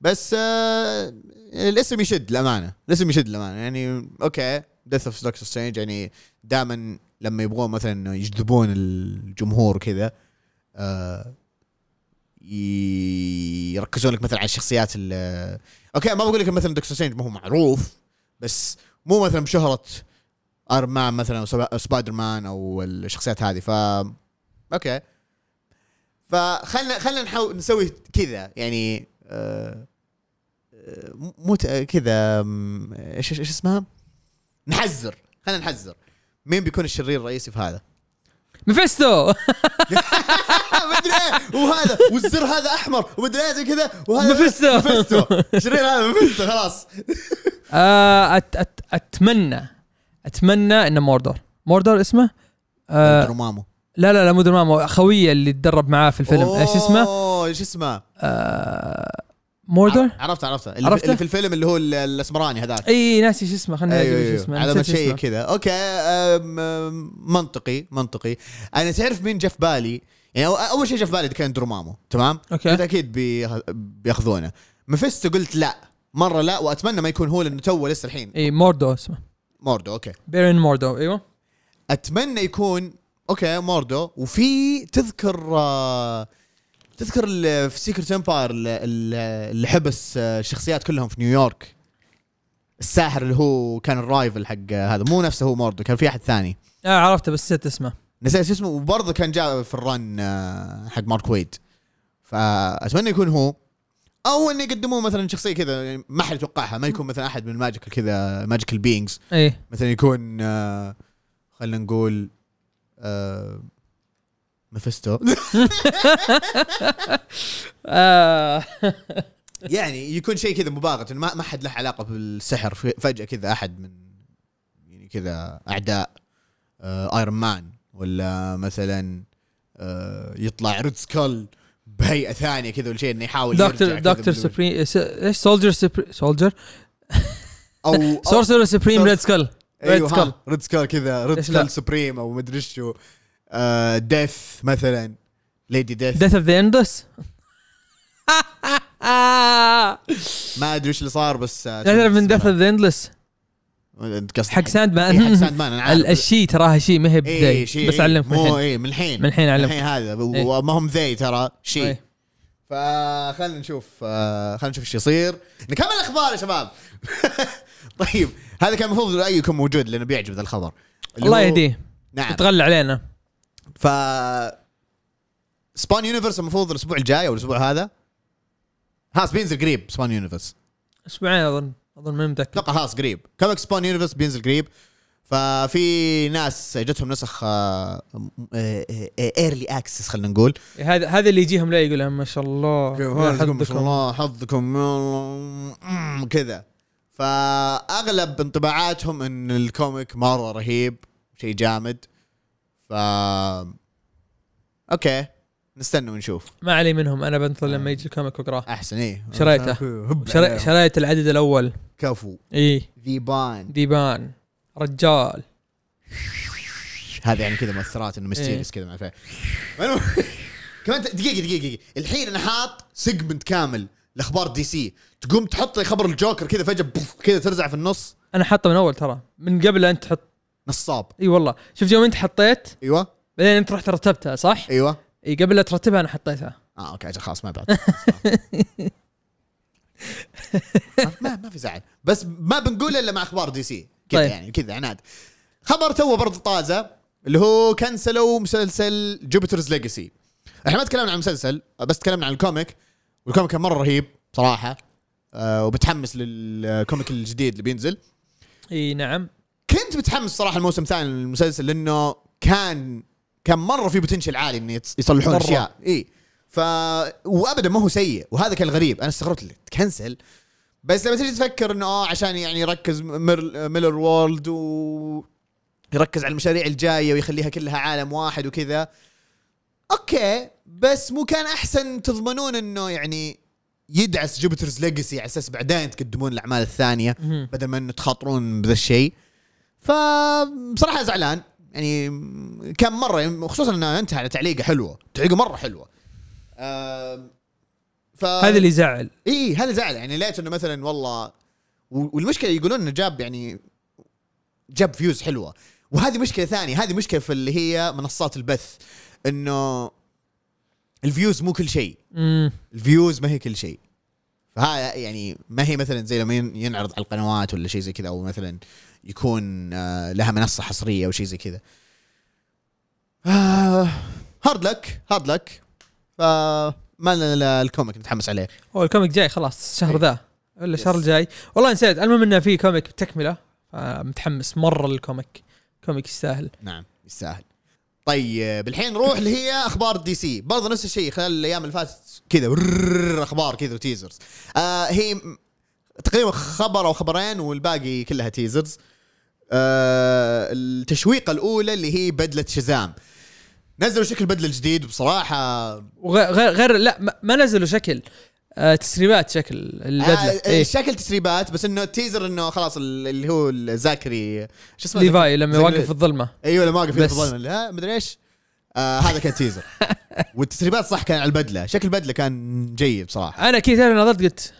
Speaker 1: بس آه الاسم يشد للامانه الاسم يشد للامانه يعني اوكي ديث اوف دكتور سترينج يعني دائما لما يبغون مثلا إنه يجذبون الجمهور كذا آه ي- يركزون لك مثلا على الشخصيات ال- اوكي ما بقول لك مثلا دكتور سترينج ما هو معروف بس مو مثلا بشهره ايرون مان مثلا او سبا- سبايدر مان او الشخصيات هذه ف اوكي فخلنا خلنا نحاول نسوي كذا يعني آه، آه، مو ت- كذا م، ايش ايش إيش اسمها؟ نحزر خلينا نحزر مين بيكون الشرير الرئيسي في هذا؟ *laughs*
Speaker 2: مفستو
Speaker 1: ما ادري إيه، وهذا والزر هذا احمر ومدري إيه زي كذا وهذا
Speaker 2: مفستو.
Speaker 1: مفستو الشرير هذا مفستو خلاص
Speaker 2: آه، أت أت اتمنى اتمنى انه موردور موردور اسمه *laughs* آه
Speaker 1: مامو
Speaker 2: لا لا لا مو مامو خويه اللي تدرب معاه في الفيلم ايش اسمه
Speaker 1: اوه ايش اسمه؟
Speaker 2: موردور
Speaker 1: ع- عرفته عرفته اللي,
Speaker 2: عرفته؟
Speaker 1: عرفته؟ اللي في الفيلم اللي هو ال- الاسمراني هذاك
Speaker 2: اي ناسي شو اسمه خلينا
Speaker 1: ايوه
Speaker 2: نجيب شو
Speaker 1: ايوه
Speaker 2: اسمه
Speaker 1: على ما
Speaker 2: نسيت شو
Speaker 1: شيء
Speaker 2: اسمه.
Speaker 1: كذا اوكي أم أم، منطقي منطقي انا تعرف مين جاء في بالي يعني أو- اول شيء جاء في بالي كان درمامو تمام
Speaker 2: أوكي.
Speaker 1: قلت اكيد بي- بياخذونه مفستو قلت لا مره لا واتمنى ما يكون هو لانه تو لسه الحين
Speaker 2: اي موردو اسمه
Speaker 1: موردو اوكي
Speaker 2: بيرين موردو ايوه
Speaker 1: اتمنى يكون اوكي موردو وفي تذكر آه، تذكر ال- في سيكرت امباير اللي حبس آه، الشخصيات كلهم في نيويورك الساحر اللي هو كان الرايفل حق آه، هذا مو نفسه هو موردو كان في احد ثاني
Speaker 2: اه عرفته بس نسيت اسمه
Speaker 1: نسيت شو اسمه وبرضه كان جاء في الرن آه، حق مارك ويد فاتمنى يكون هو او انه يقدموه مثلا شخصيه كذا يعني ما حد يتوقعها ما يكون مثلا احد من الماجيكال كذا ماجيكال بينجز
Speaker 2: اي
Speaker 1: مثلا يكون آه، خلينا نقول آه، مفستو
Speaker 2: آه
Speaker 1: *laughs* يعني يكون شيء كذا مباغت إنه ما ما حد له علاقه بالسحر ف- فجاه كذا احد من يعني كذا اعداء آه، ايرون مان ولا مثلا آه، يطلع ريد سكال بهيئه ثانيه كذا ولا شيء انه يحاول
Speaker 2: دكتور
Speaker 1: يرجع كذا
Speaker 2: دكتور
Speaker 1: بال-
Speaker 2: سبريم ايش سولجر سبريم سولجر
Speaker 1: او
Speaker 2: *laughs*
Speaker 1: أو-
Speaker 2: سورسر سبريم
Speaker 1: Sorcerer-
Speaker 2: ريد سكال ريد
Speaker 1: ايوه
Speaker 2: سكال
Speaker 1: ها ريد سكال كذا ريد
Speaker 2: إيش لا؟
Speaker 1: سكال سبريم او مدري شو آه، ديث مثلا ليدي ديث
Speaker 2: ديث اوف ذا
Speaker 1: *laughs*
Speaker 2: اندس
Speaker 1: ما ادري ايش اللي صار بس آه،
Speaker 2: لا تعرف من ديث اوف ذا اندلس
Speaker 1: قصدي
Speaker 2: حق ساند مان
Speaker 1: إيه، حق ساند مان انا
Speaker 2: *laughs* ال-
Speaker 1: عارف
Speaker 2: الشي تراها شيء ما هي
Speaker 1: اي
Speaker 2: بداية
Speaker 1: شيء
Speaker 2: بس علمك من
Speaker 1: مو
Speaker 2: الحين
Speaker 1: اي من الحين
Speaker 2: من الحين
Speaker 1: من
Speaker 2: علمك
Speaker 1: الحين هذا و-
Speaker 2: إيه.
Speaker 1: وما هم ذي ترى شيء
Speaker 2: إيه.
Speaker 1: فخلنا نشوف آه، خلنا نشوف ايش يصير نكمل الاخبار يا شباب *laughs* طيب هذا كان المفروض رأيه يكون موجود لانه بيعجب ذا الخبر اللي
Speaker 2: الله
Speaker 1: هو-
Speaker 2: يهديه
Speaker 1: نعم
Speaker 2: يتغلى علينا
Speaker 1: ف سبان يونيفرس المفروض الاسبوع الجاي او الاسبوع هذا هاس بينزل قريب سبان يونيفرس
Speaker 2: اسبوعين اظن اظن ما متاكد
Speaker 1: اتوقع خلاص قريب كوميك سبون يونيفرس بينزل قريب ففي ناس جتهم نسخ آه، ايرلي اكسس آه، خلينا نقول
Speaker 2: إيه، هذا هذا اللي يجيهم لا يقول لهم ما شاء الله يا
Speaker 1: حظكم ما شاء
Speaker 2: حظكم.
Speaker 1: الله حظكم أمم، كذا فاغلب انطباعاتهم ان الكوميك مره رهيب شيء جامد ف اوكي نستنى ونشوف
Speaker 2: ما علي منهم انا بنطر لما يجي الكوميك واقراه
Speaker 1: احسن ايه
Speaker 2: شريته.
Speaker 1: هب
Speaker 2: شري-
Speaker 1: عليهم.
Speaker 2: شريت العدد الاول
Speaker 1: كفو
Speaker 2: اي
Speaker 1: ذيبان
Speaker 2: ديبان رجال
Speaker 1: هذا يعني كذا مؤثرات انه ميستيريس كذا مع المهم، *laughs* كمان دقيقه دقيقه دقيقه الحين انا حاط سيجمنت كامل لاخبار دي سي تقوم تحط لي خبر الجوكر كذا فجاه بوف، كذا ترزع في النص
Speaker 2: انا حاطه من اول ترى من قبل لا انت تحط
Speaker 1: نصاب
Speaker 2: اي والله شوف يوم انت حطيت
Speaker 1: ايوه
Speaker 2: بعدين انت رحت رتبتها صح؟
Speaker 1: ايوه
Speaker 2: اي قبل لا ترتبها انا حطيتها
Speaker 1: اه اوكي اجل خلاص ما بعد ما- ما ما في زعل بس ما بنقول الا مع اخبار دي سي كذا
Speaker 2: طيب.
Speaker 1: يعني كذا عناد خبر تو برضه طازه اللي هو كنسلوا مسلسل جوبيترز ليجاسي احنا ما تكلمنا عن المسلسل بس تكلمنا عن الكوميك والكوميك كان مره رهيب صراحه آه وبتحمس للكوميك الجديد اللي بينزل
Speaker 2: اي نعم
Speaker 1: كنت متحمس صراحه الموسم الثاني للمسلسل لانه كان كان مره في بوتنشل عالي ان يتص- يصلحون
Speaker 2: مرة.
Speaker 1: اشياء اي ف وابدا ما هو سيء وهذا كان الغريب انا استغربت اللي تكنسل بس لما تجي تفكر انه اه عشان يعني يركز مير... ميلر وورلد و يركز على المشاريع الجايه ويخليها كلها عالم واحد وكذا اوكي بس مو كان احسن تضمنون انه يعني يدعس جوبيترز ليجسي على اساس بعدين تقدمون الاعمال الثانيه
Speaker 2: مهم.
Speaker 1: بدل ما انه تخاطرون بذا الشيء فبصراحه زعلان يعني كان مره خصوصا انه انتهى على تعليقه حلوه تعليقه مره حلوه آم، ف
Speaker 2: هذا اللي يزعل
Speaker 1: اي هذا زعل يعني لقيت انه مثلا والله و- والمشكله يقولون انه جاب يعني جاب فيوز حلوه وهذه مشكله ثانيه هذه مشكله في اللي هي منصات البث انه الفيوز مو كل شيء
Speaker 2: امم
Speaker 1: الفيوز ما هي كل شيء فها يعني ما هي مثلا زي لما ين- ينعرض على القنوات ولا شيء زي كذا او مثلا يكون آه، لها منصه حصريه او شيء زي كذا آه، هارد لك هارد لك فما آه، لنا إلا الكوميك نتحمس عليه
Speaker 2: هو الكوميك جاي خلاص الشهر
Speaker 1: إيه.
Speaker 2: ذا ولا الشهر
Speaker 1: Yes.
Speaker 2: الجاي والله نسيت المهم انه في كوميك تكمله متحمس مره للكوميك كوميك يستاهل
Speaker 1: نعم يستاهل طيب الحين نروح اللي هي اخبار دي سي برضه نفس الشيء خلال الايام اللي فاتت كذا ورررر اخبار كذا وتيزرز آه هي م- تقريبا خبر او خبرين والباقي كلها تيزرز آه التشويقه الاولى اللي هي بدله شزام نزلوا شكل بدله الجديد بصراحه
Speaker 2: وغير غير, غير لا ما- ما نزلوا شكل آه تسريبات شكل البدله
Speaker 1: آه
Speaker 2: إيه.
Speaker 1: شكل تسريبات بس انه التيزر انه خلاص ال- اللي هو الزاكري شو اسمه
Speaker 2: ليفاي لما
Speaker 1: زي-
Speaker 2: يواقف في الظلمه
Speaker 1: ايوه لما واقف
Speaker 2: بس.
Speaker 1: يتظلم لا مدري ايش آه هذا كان تيزر
Speaker 2: *laughs*
Speaker 1: والتسريبات صح كان على البدله شكل البدله كان جيد بصراحه
Speaker 2: انا كذا ترى نظرت قلت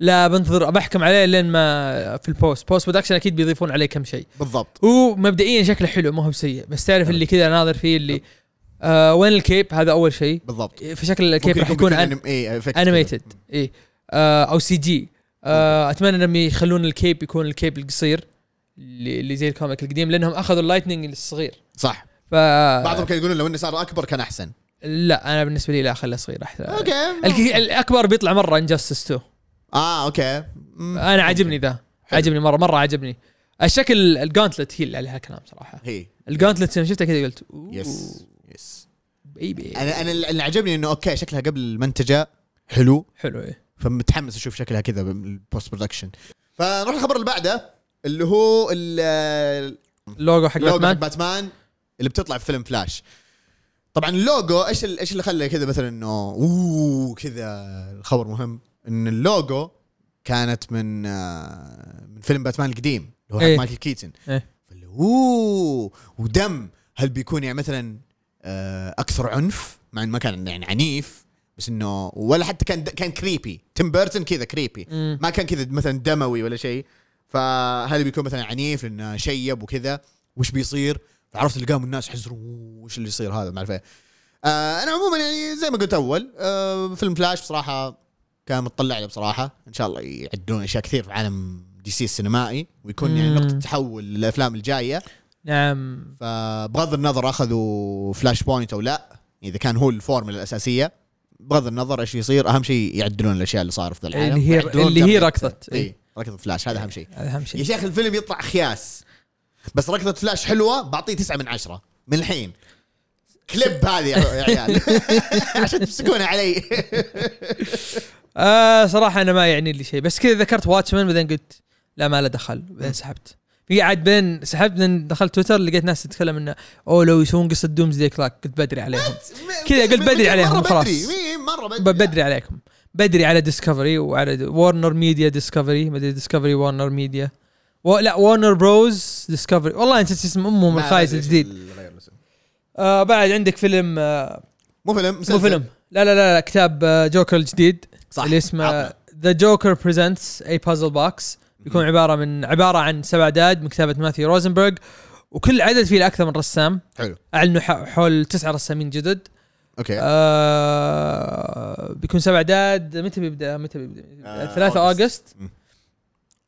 Speaker 2: لا بنتظر بحكم عليه لين ما في البوست بوست برودكشن اكيد بيضيفون عليه كم شيء
Speaker 1: بالضبط
Speaker 2: ومبدئيا شكله حلو ما هو بسيء بس تعرف اللي كذا ناظر فيه اللي آه وين الكيب هذا اول شيء
Speaker 1: بالضبط
Speaker 2: في شكل الكيب راح يكون أن...
Speaker 1: انيميتد
Speaker 2: انيميتد اي آه او سي جي آه اتمنى انهم يخلون الكيب يكون الكيب القصير اللي اللي زي الكوميك القديم لانهم اخذوا اللايتنينج الصغير
Speaker 1: صح
Speaker 2: ف
Speaker 1: بعضهم كانوا يقولون لو انه صار اكبر كان احسن
Speaker 2: لا انا بالنسبه لي لا خله صغير احسن
Speaker 1: اوكي
Speaker 2: الك- الاكبر بيطلع مره انجستس 2
Speaker 1: اه اوكي مم.
Speaker 2: انا عاجبني ذا عاجبني مره مره عاجبني الشكل الجانتلت هي اللي عليها كلام صراحه
Speaker 1: هي
Speaker 2: الجانتلت لما شفتها كذا قلت أوه،
Speaker 1: يس يس
Speaker 2: بيبي
Speaker 1: انا انا اللي عجبني انه اوكي شكلها قبل المنتجه حلو
Speaker 2: حلو ايه
Speaker 1: فمتحمس اشوف شكلها كذا بالبوست برودكشن فنروح الخبر اللي بعده اللي هو ال-
Speaker 2: لوجو حق
Speaker 1: لوجو حق
Speaker 2: باتمان
Speaker 1: باتمان اللي بتطلع في فيلم فلاش طبعا اللوجو ايش ال- ايش اللي خلى كذا مثلا انه اوه كذا الخبر مهم ان اللوجو كانت من آه، من فيلم باتمان القديم اللي هو حق
Speaker 2: إيه.
Speaker 1: مايكل كيتن
Speaker 2: إيه.
Speaker 1: فاللي اوه ودم هل بيكون يعني مثلا آه، اكثر عنف مع انه ما كان يعني عنيف بس انه ولا حتى كان كان كريبي تيم بيرتون كذا كريبي
Speaker 2: مم.
Speaker 1: ما كان كذا مثلا دموي ولا شيء فهل بيكون مثلا عنيف لانه شيب وكذا وش بيصير فعرفت اللي قاموا الناس يحزروا وش اللي يصير هذا ما اعرف إيه. آه انا عموما يعني زي ما قلت اول آه فيلم فلاش بصراحه كان متطلع له بصراحه ان شاء الله يعدلون اشياء كثير في عالم دي سي السينمائي ويكون يعني
Speaker 2: مم.
Speaker 1: نقطه تحول للافلام الجايه
Speaker 2: نعم
Speaker 1: فبغض النظر اخذوا فلاش بوينت او لا اذا كان هو الفورمولا الاساسيه بغض النظر ايش يصير اهم شيء يعدلون الاشياء اللي صار في ذا العالم
Speaker 2: إيه، اللي هي-
Speaker 1: ويعدلون
Speaker 2: اللي هي
Speaker 1: كم-
Speaker 2: ركضت.
Speaker 1: اي ركضت فلاش هذا اهم شيء
Speaker 2: هذا اهم
Speaker 1: يا
Speaker 2: شيء
Speaker 1: شيخ الفيلم يطلع خياس بس ركضه فلاش حلوه بعطيه تسعة من عشرة من الحين كليب هذه يا
Speaker 2: *laughs*
Speaker 1: عيال عشان تمسكونها علي
Speaker 2: آه صراحه انا ما يعني لي شيء بس كذا ذكرت واتشمان بعدين قلت لا ما له دخل بعدين سحبت في عاد بين سحبت بعدين دخلت تويتر لقيت ناس تتكلم انه اوه لو يسوون قصه دومز دي كلاك قلت بدري
Speaker 1: *laughs*
Speaker 2: عليهم *laughs* كذا قلت بدري
Speaker 1: مرة
Speaker 2: عليهم،
Speaker 1: بدري.
Speaker 2: خلاص.
Speaker 1: مي- مره بدري
Speaker 2: ب- بدري عليكم بدري على ديسكفري وعلى وارنر ميديا ديسكفري مدري ديسكفري وارنر ميديا و... لا وارنر بروز ديسكفري والله نسيت اسم امهم
Speaker 1: لا،
Speaker 2: الخايس
Speaker 1: بدري.
Speaker 2: الجديد
Speaker 1: غير الاسم.
Speaker 2: آه بعد عندك فيلم آه
Speaker 1: مو فيلم
Speaker 2: مو
Speaker 1: مسلسل.
Speaker 2: فيلم لا لا لا, لا كتاب آه جوكر الجديد
Speaker 1: صح
Speaker 2: اللي اسمه
Speaker 1: عطنا.
Speaker 2: ذا جوكر بريزنتس اي بازل بوكس بيكون عباره من عباره عن سبع اعداد من كتابه ماثيو روزنبرغ وكل عدد فيه لاكثر من رسام
Speaker 1: حلو
Speaker 2: اعلنوا ح- حول تسعه رسامين جدد
Speaker 1: اوكي
Speaker 2: آه بيكون سبع اعداد متى بيبدا متى بيبدا
Speaker 1: آه،
Speaker 2: 3
Speaker 1: أوغست.
Speaker 2: اوغست
Speaker 1: مم.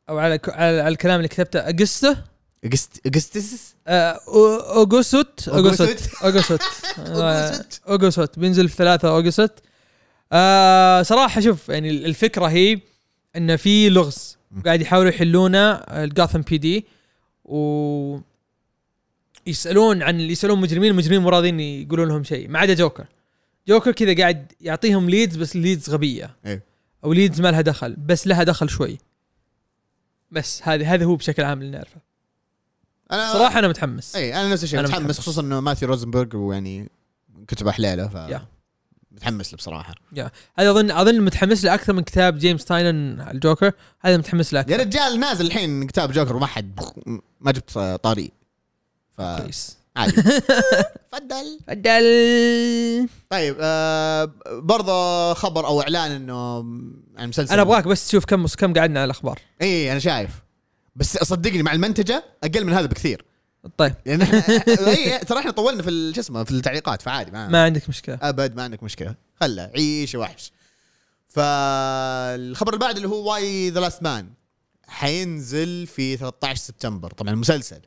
Speaker 2: او على ك- على على الكلام اللي كتبته اغسطس
Speaker 1: اجست اجستس
Speaker 2: آه، أو- اوغوست اوغوست
Speaker 1: *laughs* أوغوست.
Speaker 2: اوغوست
Speaker 1: أوغوست.
Speaker 2: آه، اوغوست بينزل في 3 اوغوست آه، صراحه شوف يعني الفكره هي ان في لغز قاعد يحاولوا يحلونه آه، الجاثم بي دي و يسالون عن يسالون مجرمين المجرمين مو راضيين يقولون لهم شيء ما عدا جوكر جوكر كذا قاعد يعطيهم ليدز بس ليدز غبيه
Speaker 1: إيه.
Speaker 2: او ليدز ما لها دخل بس لها دخل شوي بس هذا هذا هو بشكل عام اللي نعرفه
Speaker 1: انا
Speaker 2: صراحه انا متحمس
Speaker 1: اي انا إيه، نفس الشيء
Speaker 2: أنا
Speaker 1: متحمس
Speaker 2: متحمس.
Speaker 1: خصوصا انه ماثيو روزنبرغ ويعني كتب حليله ف
Speaker 2: يا.
Speaker 1: متحمس له بصراحه
Speaker 2: هذا اظن اظن متحمس له اكثر من كتاب جيمس تاينن الجوكر هذا متحمس له
Speaker 1: يا
Speaker 2: اكثر
Speaker 1: رجال نازل الحين كتاب جوكر وما حد ما جبت آه، طاري فعادي
Speaker 2: كويس
Speaker 1: تفضل
Speaker 2: عدل
Speaker 1: طيب آه برضه خبر او اعلان انه عن مسلسل
Speaker 2: انا ابغاك بس تشوف كم كم قعدنا على الاخبار
Speaker 1: اي انا شايف بس صدقني مع المنتجه اقل من هذا بكثير
Speaker 2: طيب
Speaker 1: *laughs* لان إحنا- اي ترى احنا طولنا في ال- شو اسمه في التعليقات فعادي ما,
Speaker 2: ما عندك مشكله
Speaker 1: ابد ما عندك مشكله خله عيش يا وحش فالخبر اللي بعد اللي هو واي ذا لاست مان حينزل في 13 سبتمبر طبعا المسلسل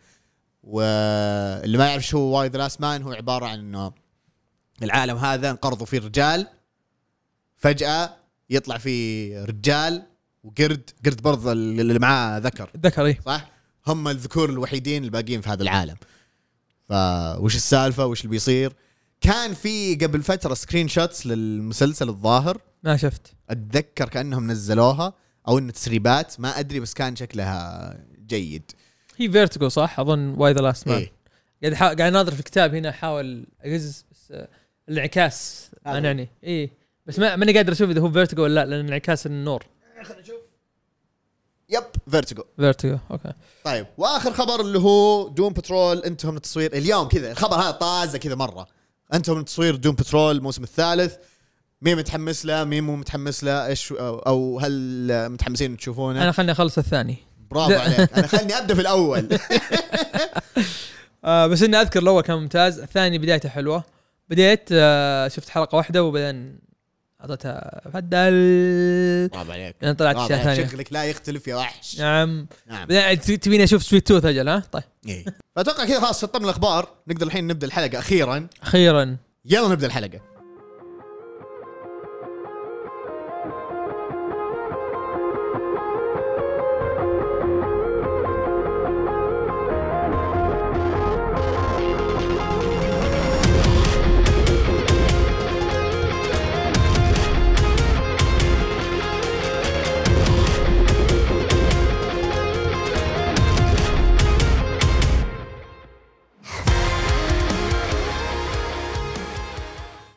Speaker 1: واللي ما يعرف شو هو واي ذا لاست مان هو عباره عن انه العالم هذا انقرضوا فيه رجال فجاه يطلع فيه رجال وقرد قرد برضه اللي معاه ذكر
Speaker 2: ذكري
Speaker 1: صح؟ هم الذكور الوحيدين الباقيين في هذا العالم. فوش السالفه؟ وش اللي بيصير؟ كان في قبل فتره سكرين شوتس للمسلسل الظاهر
Speaker 2: ما شفت
Speaker 1: اتذكر كانهم نزلوها او ان تسريبات ما ادري بس كان شكلها جيد.
Speaker 2: هي فيرتيجو صح اظن واي ذا لاست مان
Speaker 1: إيه.
Speaker 2: قاعد حا- قاعد اناظر في الكتاب هنا احاول اقز بس آه، الانعكاس
Speaker 1: هذا.
Speaker 2: مانعني اي بس ما ماني قادر اشوف اذا هو فيرتيجو ولا لا لان انعكاس النور
Speaker 1: يب فيرتيجو.
Speaker 2: فيرتيجو اوكي
Speaker 1: طيب واخر خبر اللي هو دوم بترول انتهى من التصوير اليوم كذا الخبر هذا طازه كذا مره انتهى من تصوير دوم بترول الموسم الثالث مين متحمس له مين مو متحمس له ايش او- او هل متحمسين تشوفونه
Speaker 2: انا خلني اخلص الثاني
Speaker 1: برافو
Speaker 2: لا.
Speaker 1: عليك انا خلني ابدا في الاول
Speaker 2: آه بس اني اذكر الاول كان ممتاز الثاني بدايته حلوه بديت آه شفت حلقه واحده وبعدين اعطيتها فدل
Speaker 1: *laughs* برافو عليك
Speaker 2: لان طلعت
Speaker 1: برافو
Speaker 2: اشياء
Speaker 1: عليك.
Speaker 2: ثانيه
Speaker 1: شكلك لا يختلف يا وحش
Speaker 2: نعم
Speaker 1: نعم
Speaker 2: بعدين ت- تبيني اشوف سويت توث اجل ها طيب
Speaker 1: إيه. فاتوقع كذا خلاص شطبنا الاخبار نقدر الحين نبدا الحلقه اخيرا
Speaker 2: اخيرا
Speaker 1: يلا نبدا الحلقه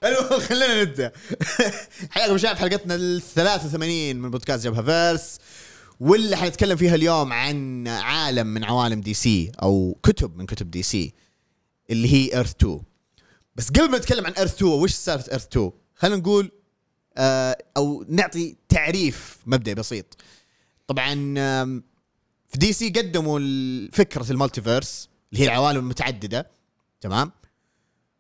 Speaker 1: حلو *laughs* خلينا نبدا حياكم شباب حلقتنا ال 83 من بودكاست جبهه فيرس واللي حنتكلم فيها اليوم عن عالم من عوالم دي سي او كتب من كتب دي سي اللي هي ايرث 2 بس قبل ما نتكلم عن ايرث 2 وش سالفه ايرث 2 خلينا نقول آه او نعطي تعريف مبدئي بسيط طبعا آم، في دي سي قدموا ال- فكره المالتيفيرس اللي هي العوالم المتعدده تمام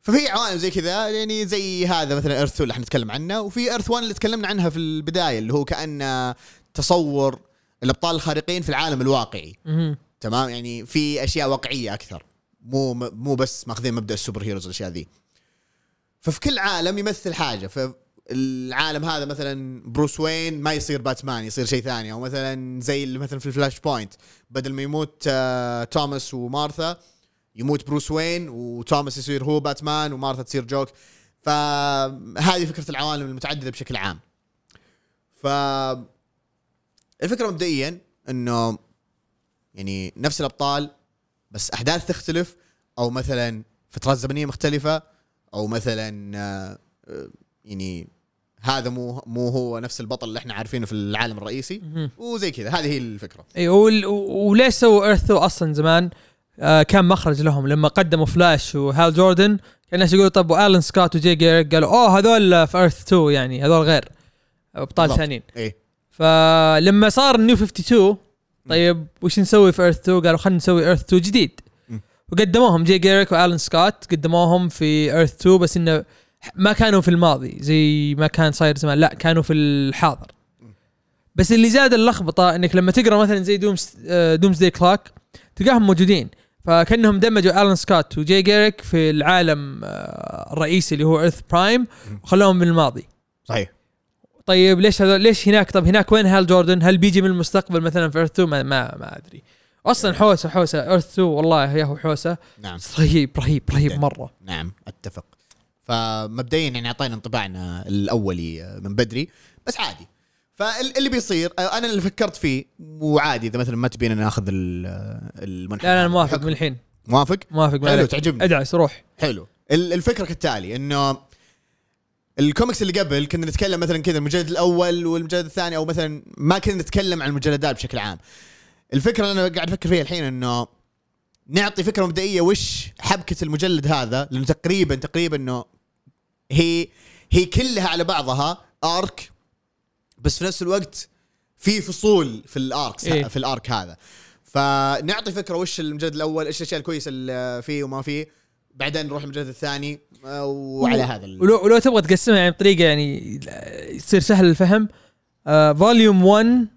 Speaker 1: ففي عوالم زي كذا يعني زي هذا مثلا ايرث 2 اللي حنتكلم عنه وفي ايرث 1 اللي تكلمنا عنها في البدايه اللي هو كان تصور الابطال الخارقين في العالم الواقعي
Speaker 2: مهم.
Speaker 1: تمام يعني في اشياء واقعيه اكثر مو مو بس ماخذين مبدا السوبر هيروز والاشياء ذي ففي كل عالم يمثل حاجه ف العالم هذا مثلا بروس وين ما يصير باتمان يصير شيء ثاني او مثلا زي اللي مثلا في الفلاش بوينت بدل ما يموت آه توماس ومارثا يموت بروس وين وتوماس يصير هو باتمان ومارثا تصير جوك فهذه فكره العوالم المتعدده بشكل عام ف الفكره مبدئيا انه يعني نفس الابطال بس احداث تختلف او مثلا فترات زمنيه مختلفه او مثلا آه، آه، يعني هذا مو مو هو نفس البطل اللي احنا عارفينه في العالم الرئيسي
Speaker 2: مهم.
Speaker 1: وزي كذا هذه هي الفكره
Speaker 2: اي وال- و- وليش سووا ايرثو اصلا زمان آه كان مخرج لهم لما قدموا فلاش وهال جوردن كان الناس يقولوا طب والن سكوت وجي جيرك قالوا اوه هذول في ايرث 2 يعني هذول غير ابطال
Speaker 1: بالضبط.
Speaker 2: ثانيين
Speaker 1: ايه
Speaker 2: فلما صار نيو 52 طيب وش نسوي في ايرث 2 قالوا خلينا نسوي ايرث 2 جديد
Speaker 1: مم.
Speaker 2: وقدموهم جي جيريك والن سكوت قدموهم في ايرث 2 بس انه ما كانوا في الماضي زي ما كان صاير زمان لا كانوا في الحاضر بس اللي زاد اللخبطه انك لما تقرا مثلا زي دومز دومز دي كلاك تلقاهم موجودين فكانهم دمجوا الن سكوت وجي جيريك في العالم آه، الرئيسي اللي هو ايرث برايم وخلوهم من الماضي
Speaker 1: صحيح
Speaker 2: طيب ليش هذا ليش هناك طب هناك وين هال جوردن هل بيجي من المستقبل مثلا في ايرث 2 ما, ما, ما ادري اصلا حوسه حوسه ايرث 2 والله يا هو حوسه
Speaker 1: نعم
Speaker 2: بس رهيب رهيب رهيب
Speaker 1: جداً.
Speaker 2: مره
Speaker 1: نعم اتفق فمبدئيا يعني اعطينا انطباعنا الاولي من بدري بس عادي فاللي بيصير انا اللي فكرت فيه وعادي اذا مثلا ما تبينا ناخذ ال- المنحنى
Speaker 2: لا لا انا
Speaker 1: هذا.
Speaker 2: موافق من الحين
Speaker 1: موافق
Speaker 2: موافق ما
Speaker 1: حلو
Speaker 2: عليك.
Speaker 1: تعجبني
Speaker 2: ادعس روح
Speaker 1: حلو ال- الفكره كالتالي انه الكوميكس اللي قبل كنا نتكلم مثلا كذا المجلد الاول والمجلد الثاني او مثلا ما كنا نتكلم عن المجلدات بشكل عام الفكره اللي انا قاعد افكر فيها الحين انه نعطي فكره مبدئيه وش حبكه المجلد هذا لانه تقريبا تقريبا انه هي هي كلها على بعضها ارك بس في نفس الوقت في فصول في الارك
Speaker 2: إيه.
Speaker 1: إيه؟ في الارك هذا فنعطي فكره وش المجلد الاول ايش الاشياء الكويسه اللي فيه وما فيه بعدين نروح المجلد الثاني آه، وعلى هذا ال-
Speaker 2: ولو, ولو تبغى تقسمها يعني بطريقه يعني يصير سهل الفهم فوليوم 1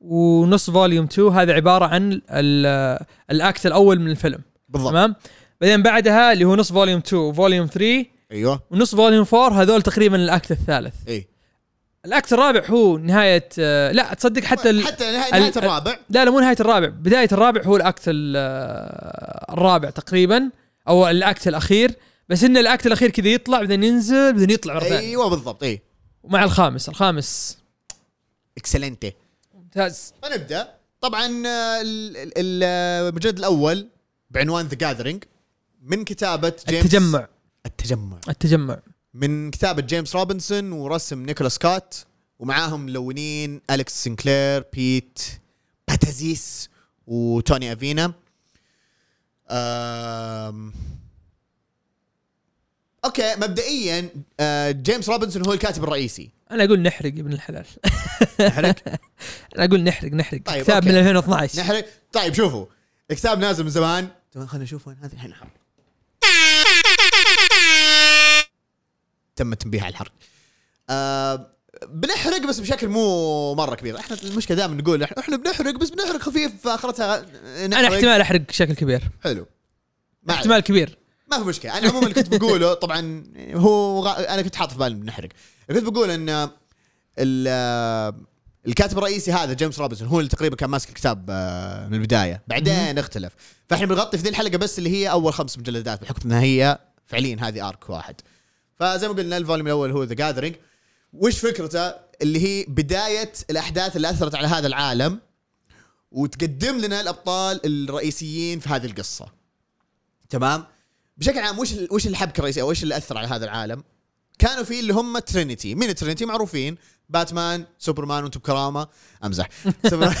Speaker 2: ونص فوليوم 2 هذا عباره عن ال- الاكت الاول من الفيلم
Speaker 1: بالضبط
Speaker 2: تمام بعدين بعدها اللي هو نص فوليوم 2 وفوليوم 3
Speaker 1: ايوه
Speaker 2: ونص فوليوم 4 هذول تقريبا الاكت الثالث
Speaker 1: اي
Speaker 2: الاكت الرابع هو نهايه آه، لا تصدق حتى ال...
Speaker 1: حتى نهايه, نهاية
Speaker 2: ال-
Speaker 1: الرابع
Speaker 2: لا لا مو نهايه الرابع بدايه الرابع هو الاكت ال- آه، الرابع تقريبا او الاكت الاخير بس ان الاكت الاخير كذا يطلع بعدين ينزل بعدين يطلع مره ثانيه
Speaker 1: ايوه بالضبط اي
Speaker 2: ومع الخامس الخامس
Speaker 1: اكسلنتي
Speaker 2: ممتاز
Speaker 1: فنبدا طبعا آه، ال- ال- المجلد الاول بعنوان ذا جاذرينج من كتابه جيمس
Speaker 2: التجمع
Speaker 1: التجمع
Speaker 2: التجمع
Speaker 1: من كتابة جيمس روبنسون ورسم نيكولاس كات ومعاهم ملونين أليكس سنكلير بيت باتازيس وتوني أفينا أم... أوكي مبدئيا آه، جيمس روبنسون هو الكاتب الرئيسي
Speaker 2: انا اقول نحرق يا ابن الحلال *laughs*
Speaker 1: نحرق
Speaker 2: انا اقول نحرق نحرق
Speaker 1: طيب،
Speaker 2: كتاب
Speaker 1: أوكي.
Speaker 2: من 2012
Speaker 1: نحرق طيب شوفوا الكتاب نازل من زمان تمام خلينا نشوف وين طيب، هذا الحين حرق تم التنبيه على الحرق آه بنحرق بس بشكل مو مره كبير احنا المشكله دائما نقول احنا إحنا بنحرق بس بنحرق خفيف فاخرتها
Speaker 2: انا احتمال احرق بشكل كبير
Speaker 1: حلو ما عليك.
Speaker 2: احتمال كبير
Speaker 1: ما في مشكله انا عموما اللي كنت بقوله طبعا هو غ... انا كنت حاط في بالي بنحرق كنت بقول ان ال... الكاتب الرئيسي هذا جيمس روبنسون هو اللي تقريبا كان ماسك الكتاب آه، من البدايه بعدين اختلف فاحنا بنغطي في ذي الحلقه بس اللي هي اول خمس مجلدات بحكم انها هي فعليا هذه ارك واحد فزي ما قلنا الفوليوم الاول هو ذا جاذرينج وش فكرته اللي هي بدايه الاحداث اللي اثرت على هذا العالم وتقدم لنا الابطال الرئيسيين في هذه القصه تمام بشكل عام وش ال- وش الحبكه الرئيسيه او وش اللي اثر على هذا العالم كانوا في اللي هم ترينيتي من الترينيتي معروفين باتمان سوبرمان وانتم بكرامه امزح *laughs* سوبر-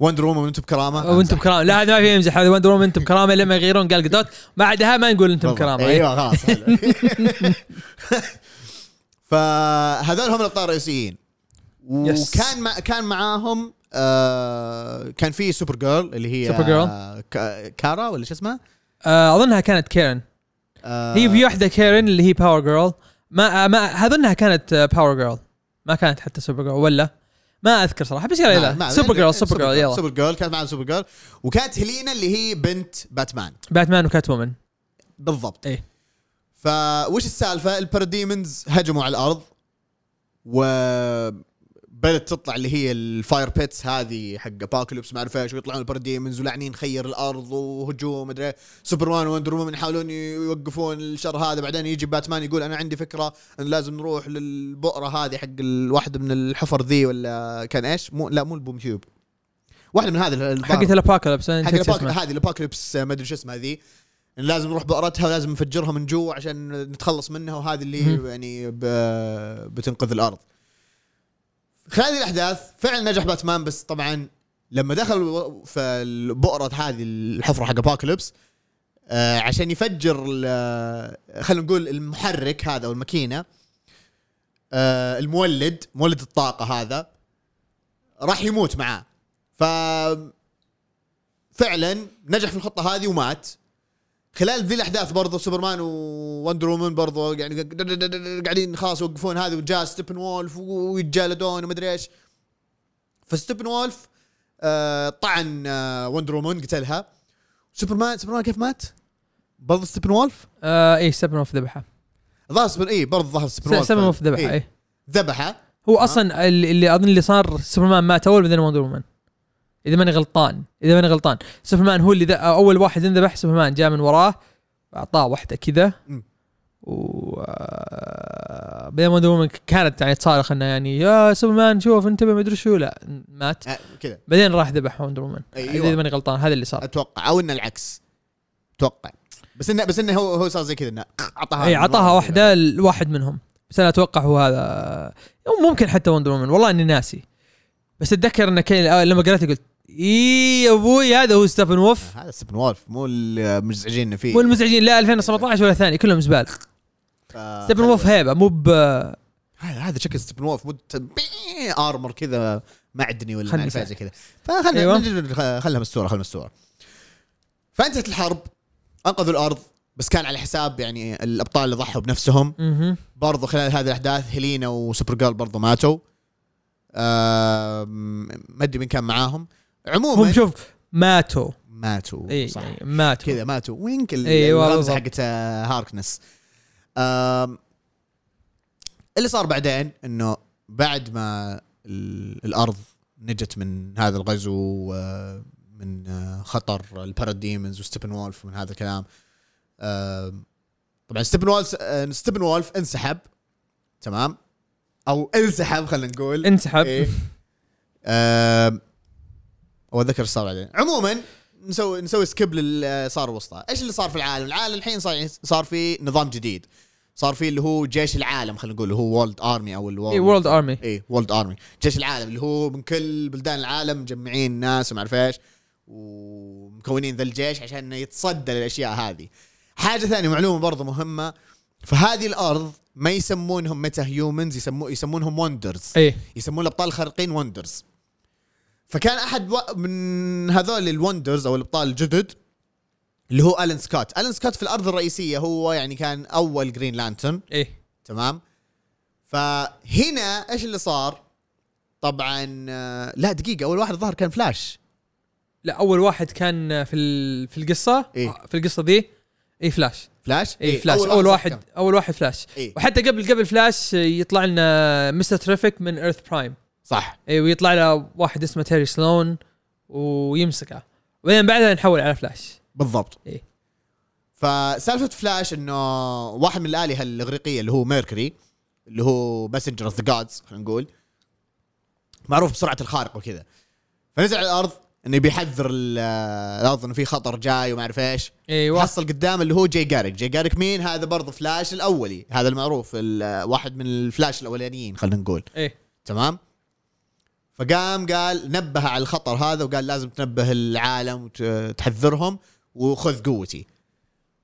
Speaker 1: وندر وومن وانتم بكرامه
Speaker 2: وانتم بكرامه لا هذا ما في يمزح هذا وندر وومن انتم بكرامه لما يغيرون قال قدوت بعدها ما نقول انتم
Speaker 1: بالضبط.
Speaker 2: بكرامه أيوة.
Speaker 1: ايوه خلاص حلو. *laughs* فهذول هم الابطال الرئيسيين
Speaker 2: يس.
Speaker 1: وكان مع كان معاهم آه كان في سوبر جيرل اللي هي
Speaker 2: سوبر جيرل.
Speaker 1: آه كا- كارا ولا شو اسمها؟
Speaker 2: آه اظنها كانت كيرن
Speaker 1: آه
Speaker 2: هي في واحده كيرن اللي هي باور جيرل ما آه ما اظنها كانت باور جيرل ما كانت حتى سوبر جيرل ولا ما اذكر صراحه بس يلا
Speaker 1: ما- ما-
Speaker 2: يلا سوبر جيرل سوبر جيرل يلا
Speaker 1: سوبر جيرل نعم. كانت معاهم سوبر جيرل وكانت هيلينا اللي هي بنت باتمان
Speaker 2: باتمان وكات وومن
Speaker 1: بالضبط
Speaker 2: إيه.
Speaker 1: فوش السالفه الباراديمنز هجموا على الارض وبدت تطلع اللي هي الفاير بيتس هذه حق ابوكاليبس ما اعرف ايش ويطلعون البرديمنز ولاعنين خير الارض وهجوم مدري إيه. سوبرمان وندر وومن يحاولون يوقفون الشر هذا بعدين يجي باتمان يقول انا عندي فكره ان لازم نروح للبؤره هذه حق الواحد من الحفر ذي ولا كان ايش؟ مو لا مو البوم تيوب واحده من هذه البار-
Speaker 2: حقت الاباكالبس انا
Speaker 1: حق
Speaker 2: نسيت
Speaker 1: الأباك-
Speaker 2: اسمها
Speaker 1: هذه الابوكاليبس ما ادري شو اسمها ذي إن لازم نروح بؤرتها ولازم نفجرها من جوا عشان نتخلص منها وهذه اللي
Speaker 2: مهم.
Speaker 1: هي يعني ب... بتنقذ الارض. خلال الاحداث فعلا نجح باتمان بس طبعا لما دخل الو- في البؤره هذه الحفره حق ابوكاليبس آه عشان يفجر ال- خلينا نقول المحرك هذا او الماكينه آه المولد مولد الطاقه هذا راح يموت معاه ف فعلا نجح في الخطه هذه ومات خلال ذي الاحداث برضو سوبرمان ووندر وومن برضو يعني قاعد- قاعدين خلاص يوقفون هذه وجاء ستيبن وولف ويتجالدون ومدري ايش فستيبن وولف آه طعن آه وندر وومن قتلها سوبرمان سوبرمان كيف مات؟ برضو ستيبن وولف؟
Speaker 2: آه اي سبن اوف ذبحه
Speaker 1: ظهر سبن اي برضو ظهر ستيبن وولف
Speaker 2: سبن اوف ذبحه
Speaker 1: إيه،
Speaker 2: اي
Speaker 1: ذبحه
Speaker 2: هو اصلا اللي, اللي اظن اللي صار سوبرمان مات اول بعدين وندر وومن اذا ماني غلطان اذا ماني غلطان سوبرمان هو اللي ذا- اول واحد انذبح سوبرمان جاء من وراه اعطاه واحده كذا
Speaker 1: مم.
Speaker 2: و آه، بعدين وندر وومن كانت يعني تصارخ انه يعني يا سوبرمان شوف انتبه ما ادري شو لا مات
Speaker 1: آه كذا
Speaker 2: بعدين راح ذبح وندر وومن
Speaker 1: أيوة.
Speaker 2: اذا ماني غلطان هذا اللي صار
Speaker 1: اتوقع او انه العكس اتوقع بس انه بس انه هو هو صار زي كذا انه اعطاها
Speaker 2: اي اعطاها واحده إيه، لواحد منهم بس انا اتوقع هو هذا أو ممكن حتى وندر وومن والله اني ناسي بس اتذكر ان كان آه، لما قريت قلت اي يا ابوي هذا هو ستيفن وولف
Speaker 1: هذا ستيبن وولف مو المزعجين إنه فيه
Speaker 2: مو المزعجين لا 2017 ولا ثاني كلهم زبال
Speaker 1: ف-
Speaker 2: ستيفن وولف هيبه مو ب
Speaker 1: هذا هذا شكل ستيبن وولف مو ت- بي- ارمر كذا معدني ولا
Speaker 2: خلني
Speaker 1: ما أعرف إيه
Speaker 2: أساعدك.
Speaker 1: زي كذا فخلنا
Speaker 2: أيوة.
Speaker 1: أيوة. خلها مستوره خلها مستوره فانتهت الحرب انقذوا الارض بس كان على حساب يعني الابطال اللي ضحوا بنفسهم
Speaker 2: مهم.
Speaker 1: برضو خلال هذه الاحداث هيلينا وسوبر جيرل برضو ماتوا آم، ما ادري مين كان معاهم
Speaker 2: هم
Speaker 1: عموما
Speaker 2: شوف ماتوا
Speaker 1: ماتوا
Speaker 2: اي
Speaker 1: صح
Speaker 2: يعني ماتوا
Speaker 1: كذا ماتوا وينك ال-
Speaker 2: أيوة،
Speaker 1: الغمزه
Speaker 2: بالضبط.
Speaker 1: حقت آه، هاركنس آم، اللي صار بعدين انه بعد ما ال- الارض نجت من هذا الغزو آه، من آه، خطر الباراديمنز وستيبن وولف ومن هذا الكلام آم، طبعا ستيبن وولف آه، ستيبن وولف انسحب تمام او انسحب خلينا نقول
Speaker 2: انسحب
Speaker 1: ايه آم، واتذكر ايش صار بعدين عموما نسوي نسوي سكيب للي صار وسطه ايش اللي صار في العالم العالم الحين صار صار في نظام جديد صار في اللي هو جيش العالم خلينا نقول اللي هو وولد ارمي او
Speaker 2: اي
Speaker 1: الوولد
Speaker 2: وورلد ارمي
Speaker 1: اي وولد ارمي إيه، جيش العالم اللي هو من كل بلدان العالم مجمعين ناس وما اعرف ايش ومكونين ذا الجيش عشان يتصدى للاشياء هذه حاجه ثانيه معلومه برضو مهمه فهذه الارض ما يسمونهم ميتا هيومنز يسمو يسمونهم وندرز
Speaker 2: اي
Speaker 1: يسمون الابطال الخارقين وندرز فكان احد و- من هذول الوندرز او الابطال الجدد اللي هو الن سكوت الن سكوت في الارض الرئيسيه هو يعني كان اول جرين لانترن
Speaker 2: اي
Speaker 1: تمام فهنا ايش اللي صار طبعا آه، لا دقيقه اول واحد ظهر كان فلاش
Speaker 2: لا اول واحد كان في ال- في القصه
Speaker 1: إيه.
Speaker 2: في القصه ذي إيه، اي فلاش
Speaker 1: فلاش
Speaker 2: اي فلاش اول واحد اول واحد فلاش
Speaker 1: إيه.
Speaker 2: وحتى قبل قبل فلاش يطلع لنا مستر ترافيك من ايرث برايم
Speaker 1: صح
Speaker 2: اي ويطلع له واحد اسمه تيري سلون ويمسكه وبعدين بعدها نحول على فلاش
Speaker 1: بالضبط
Speaker 2: إيه.
Speaker 1: فسالفه فلاش انه واحد من الالهه الاغريقيه اللي هو ميركوري اللي هو ماسنجر اوف ذا جادز خلينا نقول معروف بسرعه الخارق وكذا فنزل على الارض انه بيحذر ال- الارض انه في خطر جاي وما اعرف ايش
Speaker 2: ايوه
Speaker 1: حصل قدام اللي هو جاي جارك جاي جارك مين هذا برضه فلاش الاولي هذا المعروف ال- واحد من الفلاش الاولانيين خلينا نقول
Speaker 2: ايه
Speaker 1: تمام فقام قال نبه على الخطر هذا وقال لازم تنبه العالم وتحذرهم وخذ قوتي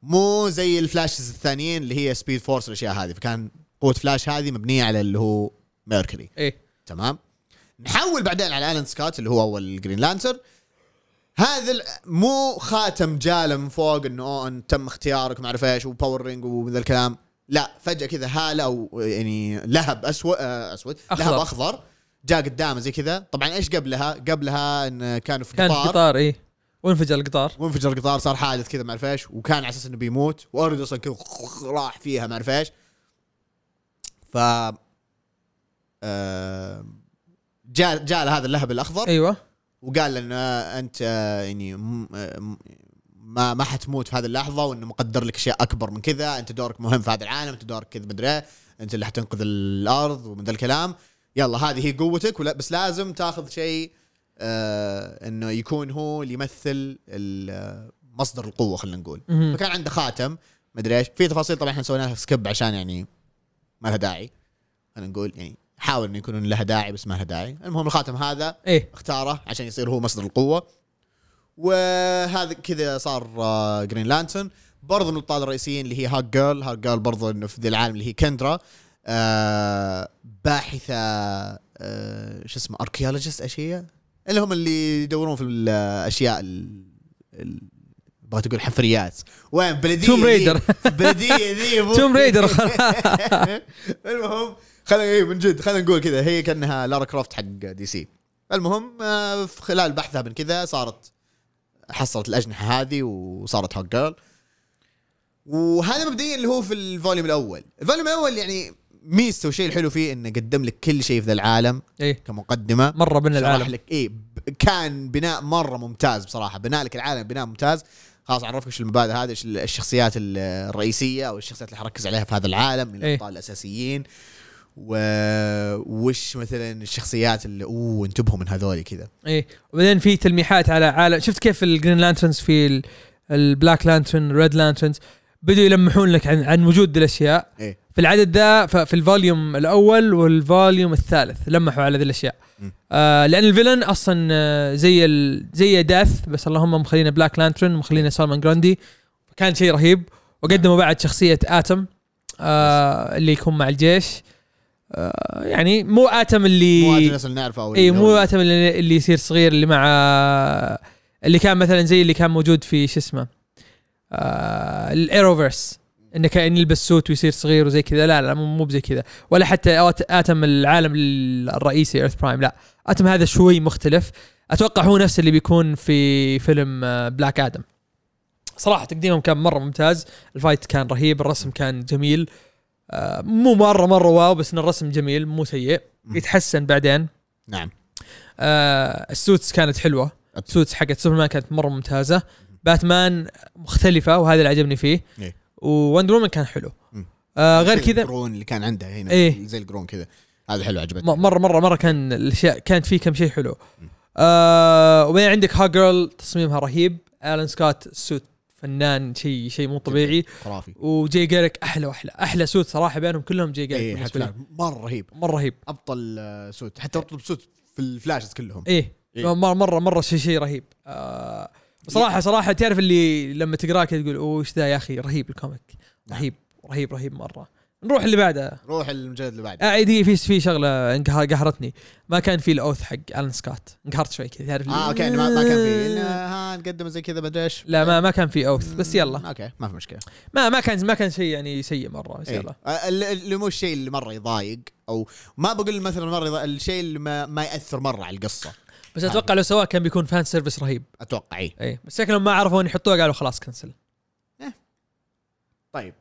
Speaker 1: مو زي الفلاشز الثانيين اللي هي سبيد فورس والاشياء هذه فكان قوه فلاش هذه مبنيه على اللي هو ميركوري
Speaker 2: ايه
Speaker 1: تمام نحول بعدين على الان سكوت اللي هو اول جرين لانتر هذا ال- مو خاتم جاله من فوق انه أوه إن تم اختيارك ما اعرف ايش وباور رينج وذا الكلام لا فجاه كذا هاله او يعني لهب اسود اسود
Speaker 2: أخضر.
Speaker 1: لهب اخضر جاء قدامه زي كذا طبعا ايش قبلها؟ قبلها ان كانوا في
Speaker 2: كان في
Speaker 1: قطار
Speaker 2: قطار ايه وانفجر القطار
Speaker 1: وانفجر القطار صار حادث كذا ما اعرف ايش وكان على اساس انه بيموت وارد اصلا كذا راح فيها ما اعرف ايش ف آه، جاء جاء هذا اللهب الاخضر
Speaker 2: ايوه
Speaker 1: وقال له انه انت آه، يعني م- آه، م- ما ما حتموت في هذه اللحظه وانه مقدر لك اشياء اكبر من كذا انت دورك مهم في هذا العالم انت دورك كذا مدري إيه، انت اللي حتنقذ الارض ومن ذا الكلام يلا هذه هي قوتك ولا بس لازم تاخذ شيء آه انه يكون هو اللي يمثل ال- آه، مصدر القوه خلينا نقول
Speaker 2: مهم.
Speaker 1: فكان عنده خاتم مدري ايش في تفاصيل طبعا احنا سوينا لها سكيب عشان يعني ما لها داعي خلينا نقول يعني حاول انه يكون لها داعي بس ما لها داعي المهم الخاتم هذا
Speaker 2: ايه
Speaker 1: اختاره عشان يصير هو مصدر القوه وهذا كذا صار آه، جرين لانترن برضو من الابطال الرئيسيين اللي هي هاك جيرل هاك جيرل برضو انه في ذي العالم اللي هي كندرا آه باحثه آه شو اسمه اركيولوجيست ايش هي؟ اللي هم اللي يدورون في الاشياء ال- ال- بغيت اقول حفريات وين بلديه
Speaker 2: توم
Speaker 1: ذي-
Speaker 2: ريدر. *laughs*
Speaker 1: بلديه ذي أبو.
Speaker 2: توم ريدر
Speaker 1: *laughs* المهم خلينا ايه من جد خلينا نقول كذا هي كانها لارا كرافت حق دي سي المهم آه، في خلال بحثها من كذا صارت حصلت الاجنحه هذه وصارت هوت جيرل وهذا مبدئيا اللي هو في الفوليوم الاول الفوليوم الاول يعني ميزته والشيء الحلو فيه انه قدم لك كل شيء في ذا العالم
Speaker 2: ايه
Speaker 1: كمقدمه
Speaker 2: مره بين
Speaker 1: شرح
Speaker 2: العالم
Speaker 1: لك اي كان بناء مره ممتاز بصراحه بناء لك العالم بناء ممتاز خلاص عرفك ايش المبادئ هذه ايش الشخصيات ال- الرئيسيه او الشخصيات اللي حركز عليها في هذا العالم من
Speaker 2: إيه.
Speaker 1: الابطال الاساسيين و... وش مثلا الشخصيات اللي اوه انتبهوا من هذول كذا
Speaker 2: ايه وبعدين في تلميحات على عالم شفت كيف الجرين لانترنز في ال- البلاك لانترن ريد لانترنز بدوا يلمحون لك عن عن وجود ذي الاشياء
Speaker 1: إيه.
Speaker 2: في العدد ذا ف- في الفوليوم الاول والفوليوم الثالث لمحوا على ذي الاشياء
Speaker 1: مم.
Speaker 2: آه لان الفيلن اصلا آه، زي ال... زي داث بس اللهم مخلينا بلاك لانترن ومخلينا سالمان جراندي كان شيء رهيب وقدموا بعد شخصيه اتم آه اللي يكون مع الجيش آه يعني مو اتم اللي
Speaker 1: مو هذا الناس اللي نعرفه او
Speaker 2: اي
Speaker 1: اللي
Speaker 2: إيه. مو
Speaker 1: هو-
Speaker 2: اتم اللي اللي يصير صغير اللي مع اللي كان مثلا زي اللي كان موجود في شو اسمه آه الايروفيرس انه كان يلبس سوت ويصير صغير وزي كذا لا لا مو مو بزي كذا ولا حتى آت- اتم العالم ال- الرئيسي ايرث برايم لا اتم هذا شوي مختلف اتوقع هو نفس اللي بيكون في فيلم آه، بلاك ادم صراحه تقديمهم كان مره ممتاز الفايت كان رهيب الرسم كان جميل آه، مو مره مره واو بس ان الرسم جميل مو سيء
Speaker 1: مم.
Speaker 2: يتحسن بعدين
Speaker 1: نعم
Speaker 2: آه السوتس كانت حلوه
Speaker 1: أت-
Speaker 2: السوتس حقت سوبرمان كانت مره ممتازه باتمان مختلفه وهذا اللي عجبني فيه
Speaker 1: إيه.
Speaker 2: ووندر وومن كان حلو
Speaker 1: مم.
Speaker 2: آه غير
Speaker 1: *laughs*
Speaker 2: كذا م-
Speaker 1: القرون اللي كان عندها هنا
Speaker 2: إيه.
Speaker 1: زي القرون كذا هذا حلو عجبتني
Speaker 2: مره مره مره كان الاشياء كانت فيه كم شيء حلو آه وبعدين عندك ها جيرل تصميمها رهيب الان سكوت سوت فنان شيء شيء مو طبيعي
Speaker 1: خرافي
Speaker 2: وجي جيرك احلى واحلى احلى سوت صراحه بينهم كلهم جي جيرك
Speaker 1: اي إيه، حتى
Speaker 2: بالنسبه لي
Speaker 1: مره رهيب
Speaker 2: مره رهيب
Speaker 1: ابطل آه، سوت حتى ابطل سوت في الفلاشز كلهم
Speaker 2: ايه
Speaker 1: إيه.
Speaker 2: مره مره مره شيء شيء رهيب آه صراحه صراحه تعرف اللي لما تقراه كذا تقول اوه ايش ذا يا اخي رهيب الكوميك
Speaker 1: نعم.
Speaker 2: رهيب رهيب رهيب مره نروح اللي بعده
Speaker 1: روح المجلد اللي بعده
Speaker 2: آه دقيقة في في شغله انقه- قهرتني ما كان في الاوث حق الن سكوت انقهرت شوي كذا تعرف اللي-
Speaker 1: اه اوكي يعني ما ما كان
Speaker 2: *laughs*
Speaker 1: في ها نقدم زي كذا بدري ايش
Speaker 2: لا ما ما كان في اوث بس يلا
Speaker 1: اوكي ما في مشكله
Speaker 2: ما ما كان ما كان شيء يعني سيء مره بس
Speaker 1: إيه.
Speaker 2: يلا
Speaker 1: آه، ال- اللي مو الشيء اللي مره يضايق او ما بقول مثلا مره يضايق الشيء اللي ما, ما ياثر مره على القصه
Speaker 2: بس اتوقع لو سواه كان بيكون فان سيرفيس رهيب
Speaker 1: اتوقع اي
Speaker 2: اي إيه. بس شكلهم ما عرفوا وين يحطوه قالوا خلاص كنسل
Speaker 1: طيب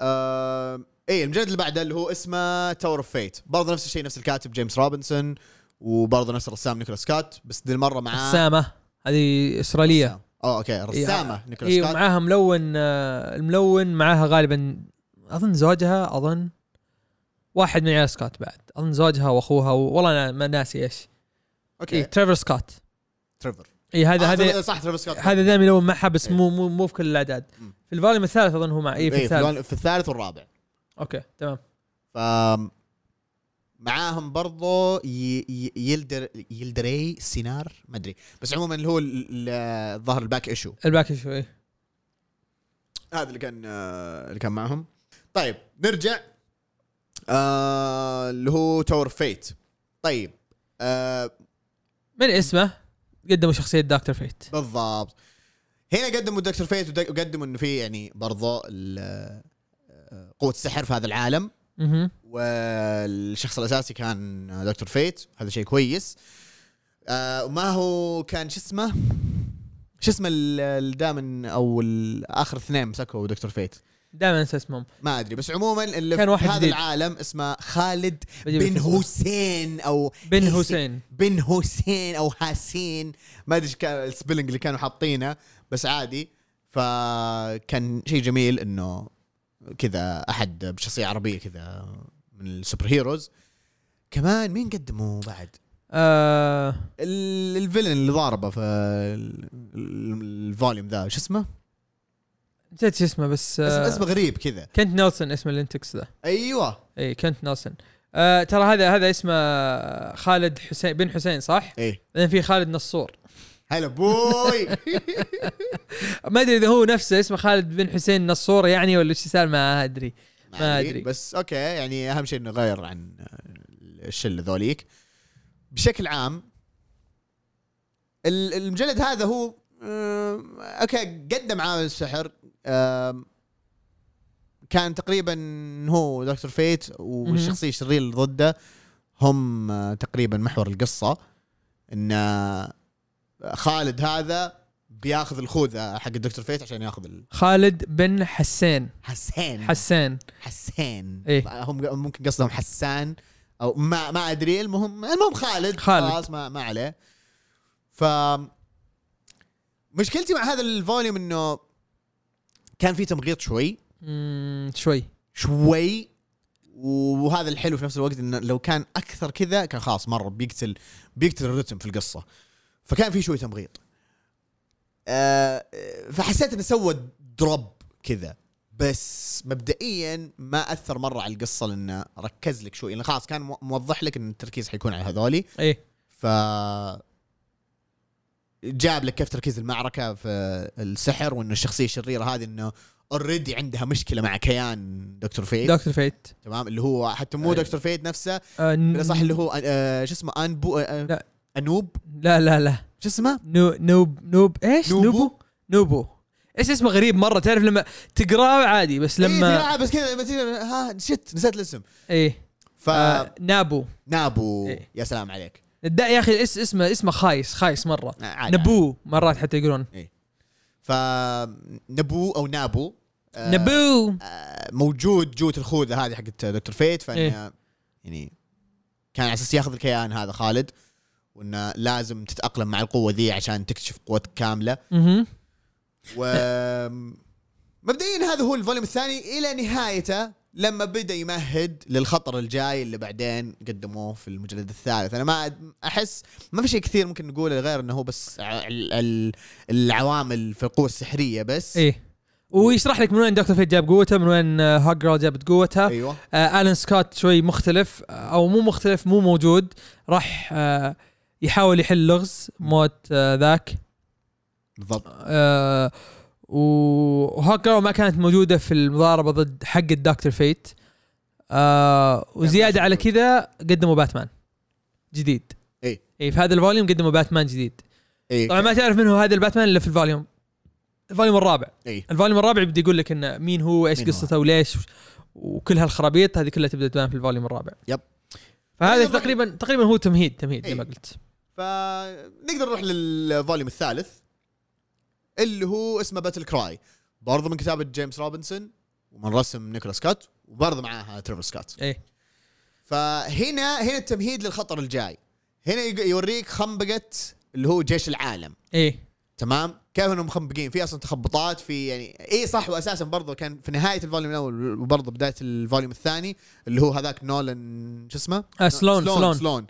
Speaker 1: آه اي المجلد اللي بعده اللي هو اسمه تاور اوف فيت برضه نفس الشيء نفس الكاتب جيمس روبنسون وبرضه نفس الرسام نيكولاس كات بس دي المره معاه
Speaker 2: رسامه هذه اسرائيليه
Speaker 1: رسام. اه اوكي رسامه
Speaker 2: إيه،
Speaker 1: نيكولاس
Speaker 2: إيه
Speaker 1: كات
Speaker 2: معاها ملون آه، الملون معاها غالبا اظن زوجها اظن واحد من عيال سكوت بعد اظن زوجها واخوها و- والله انا ما ناسي ايش اي
Speaker 1: اوكي
Speaker 2: تريفر سكوت
Speaker 1: تريفر
Speaker 2: اي إيه. هذا
Speaker 1: آه،
Speaker 2: هذا
Speaker 1: صح تريفر سكوت
Speaker 2: هذا دائما يلون معها بس
Speaker 1: إيه.
Speaker 2: مو مو مو في كل الاعداد
Speaker 1: مم.
Speaker 2: في الفوليوم الثالث اظن هو مع اي في
Speaker 1: إيه،
Speaker 2: الثالث
Speaker 1: في الثالث والرابع
Speaker 2: اوكي تمام
Speaker 1: ف معاهم برضو ي- ي- يلدر يلدري سينار ما ادري بس عموما اللي هو ال- ال- ظهر الباك ايشو
Speaker 2: الباك شوي
Speaker 1: هذا اللي كان آه، اللي كان معهم طيب نرجع آه، اللي هو تاور فيت طيب آه،
Speaker 2: من اسمه قدموا شخصيه دكتور فيت
Speaker 1: بالضبط هنا قدموا دكتور فيت ودك- وقدموا انه في يعني برضو ال- آه، قوه السحر في هذا العالم
Speaker 2: اها
Speaker 1: والشخص الاساسي كان دكتور فيت هذا شيء كويس آه، وما هو كان شو اسمه شو اسمه ال- الدامن او ال- اخر اثنين مسكوا دكتور فيت
Speaker 2: دائما انسى اسمهم
Speaker 1: ما ادري بس عموما اللي
Speaker 2: كان
Speaker 1: في
Speaker 2: واحد
Speaker 1: هذا
Speaker 2: جديد.
Speaker 1: العالم اسمه خالد
Speaker 2: بجيب لك
Speaker 1: بن
Speaker 2: اسمه.
Speaker 1: حسين او
Speaker 2: بن حسين
Speaker 1: بن حسين او حسين ما ادري ايش كان السبيلنج اللي كانوا حاطينه بس عادي فكان شيء جميل انه كذا احد بشخصيه عربيه كذا من السوبر هيروز كمان مين قدموا بعد؟
Speaker 2: آه
Speaker 1: ال- الفيلن اللي ضاربه في ال- ال- الفوليوم ذا شو اسمه؟
Speaker 2: نسيت شو اسمه بس
Speaker 1: اسمه
Speaker 2: آه
Speaker 1: اسمه غريب كذا
Speaker 2: كنت نيلسون اسم الانتكس ذا
Speaker 1: ايوه
Speaker 2: اي إيه، كنت نيلسون آه ترى هذا هذا اسمه خالد حسين بن حسين صح؟
Speaker 1: ايه
Speaker 2: بعدين في خالد نصور
Speaker 1: هلا بوي
Speaker 2: ما ادري اذا هو نفسه اسمه خالد بن حسين نصور يعني ولا ايش السالفه ما ادري ما أدري.
Speaker 1: بس اوكي يعني اهم شيء انه غير عن الشله ذوليك بشكل عام ال- المجلد هذا هو آم، اوكي قدم عامل السحر آم، كان تقريبا هو دكتور فيت والشخصيه الشريره اللي ضده هم آه، تقريبا محور القصه ان آه، خالد هذا بياخذ الخوذه حق الدكتور فيت عشان ياخذ
Speaker 2: خالد بن حسين
Speaker 1: الحسين
Speaker 2: حسين
Speaker 1: حسين
Speaker 2: إيه.
Speaker 1: هم ممكن قصدهم حسان او ما ما ادري المهم المهم خالد
Speaker 2: خالد.
Speaker 1: خلاص ما ما عليه ف مشكلتي مع هذا الفوليوم انه كان في تمغيط شوي
Speaker 2: مم، شوي
Speaker 1: شوي وهذا الحلو في نفس الوقت انه لو كان اكثر كذا كان خلاص مره بيقتل بيقتل الرتم في القصه فكان في شوي تمغيط آه، فحسيت انه سوى دروب كذا بس مبدئيا ما اثر مره على القصه لانه ركز لك شوي لانه خلاص كان مو- موضح لك ان التركيز حيكون على هذولي
Speaker 2: ايه
Speaker 1: ف جاب لك كيف تركيز المعركه في السحر وانه الشخصيه الشريره هذه انه اوريدي عندها مشكله مع كيان دكتور فيت
Speaker 2: دكتور فيت
Speaker 1: تمام اللي هو حتى مو
Speaker 2: أيوة.
Speaker 1: دكتور فيت نفسه
Speaker 2: آه، ن-
Speaker 1: بلا صح اللي هو آه، شو اسمه انبو آه،
Speaker 2: لا.
Speaker 1: انوب
Speaker 2: لا لا لا
Speaker 1: شو اسمه؟
Speaker 2: نو نوب نوب ايش
Speaker 1: نوبو؟
Speaker 2: نوبو نوبو ايش اسمه غريب مره تعرف لما تقراه عادي بس لما
Speaker 1: إيه بس كذا لما تيجي- ها شت نسيت الاسم
Speaker 2: ايه آه نابو
Speaker 1: فنابو
Speaker 2: إيه.
Speaker 1: يا سلام عليك
Speaker 2: دا يا اخي اس اسمه اسمه خايس خايس مره
Speaker 1: آه، عادي
Speaker 2: نبو مرات حتى يقولون
Speaker 1: فنبو او نابو آه،
Speaker 2: نبو
Speaker 1: آه، موجود جوة الخوذه هذه حقت دكتور فيت فان
Speaker 2: إيه.
Speaker 1: يعني كان على اساس ياخذ الكيان هذا خالد وانه لازم تتاقلم مع القوه ذي عشان تكتشف قوتك كامله
Speaker 2: مهم.
Speaker 1: و *laughs* مبدئيا هذا هو الفوليوم الثاني الى نهايته لما بدا يمهد للخطر الجاي اللي بعدين قدموه في المجلد الثالث انا ما أد- احس ما في شيء كثير ممكن نقوله غير انه هو بس ع- ال- ال- العوامل في القوه السحريه بس
Speaker 2: ايه ويشرح لك من وين دكتور فيت جاب قوته من وين آه، هاجرال جابت قوتها
Speaker 1: ايوه
Speaker 2: آه الن سكوت شوي مختلف آه، او مو مختلف مو موجود راح آه يحاول يحل لغز موت آه ذاك
Speaker 1: بالضبط
Speaker 2: آه وهاكر ما كانت موجوده في المضاربه ضد حق الدكتور فيت
Speaker 1: يعني
Speaker 2: آه وزياده على كذا قدموا باتمان جديد
Speaker 1: إيه.
Speaker 2: اي في هذا الفوليوم قدموا باتمان جديد
Speaker 1: ايه
Speaker 2: طبعا ما تعرف منه هذا الباتمان الا في الفوليوم الفوليوم الرابع
Speaker 1: ايه
Speaker 2: الفوليوم الرابع يبدا يقول لك انه مين هو ايش
Speaker 1: مين هو.
Speaker 2: قصته وليش وكل هالخرابيط هذه كلها تبدا تبان في الفوليوم الرابع
Speaker 1: يب.
Speaker 2: فهذا
Speaker 1: يعني الرابع-
Speaker 2: تقريبا تقريبا هو تمهيد تمهيد زي ما
Speaker 1: إيه.
Speaker 2: قلت
Speaker 1: فنقدر نروح للفوليوم الثالث اللي هو اسمه باتل كراي برضه من كتابة جيمس روبنسون ومن رسم نيكولاس كات وبرضه معاها تريفر سكات
Speaker 2: ايه
Speaker 1: فهنا هنا التمهيد للخطر الجاي هنا يق- يوريك خنبقة اللي هو جيش العالم
Speaker 2: ايه
Speaker 1: تمام كيف انهم مخنبقين في اصلا تخبطات في يعني اي صح واساسا برضه كان في نهايه الفوليوم الاول وبرضه بدايه الفوليوم الثاني اللي هو هذاك نولان شو اسمه؟
Speaker 2: آه، سلون- سلون.
Speaker 1: سلون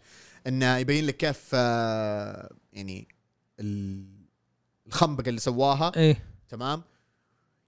Speaker 1: انه يبين لك كيف آه، يعني ال- الخنبقه اللي سواها
Speaker 2: ايه
Speaker 1: تمام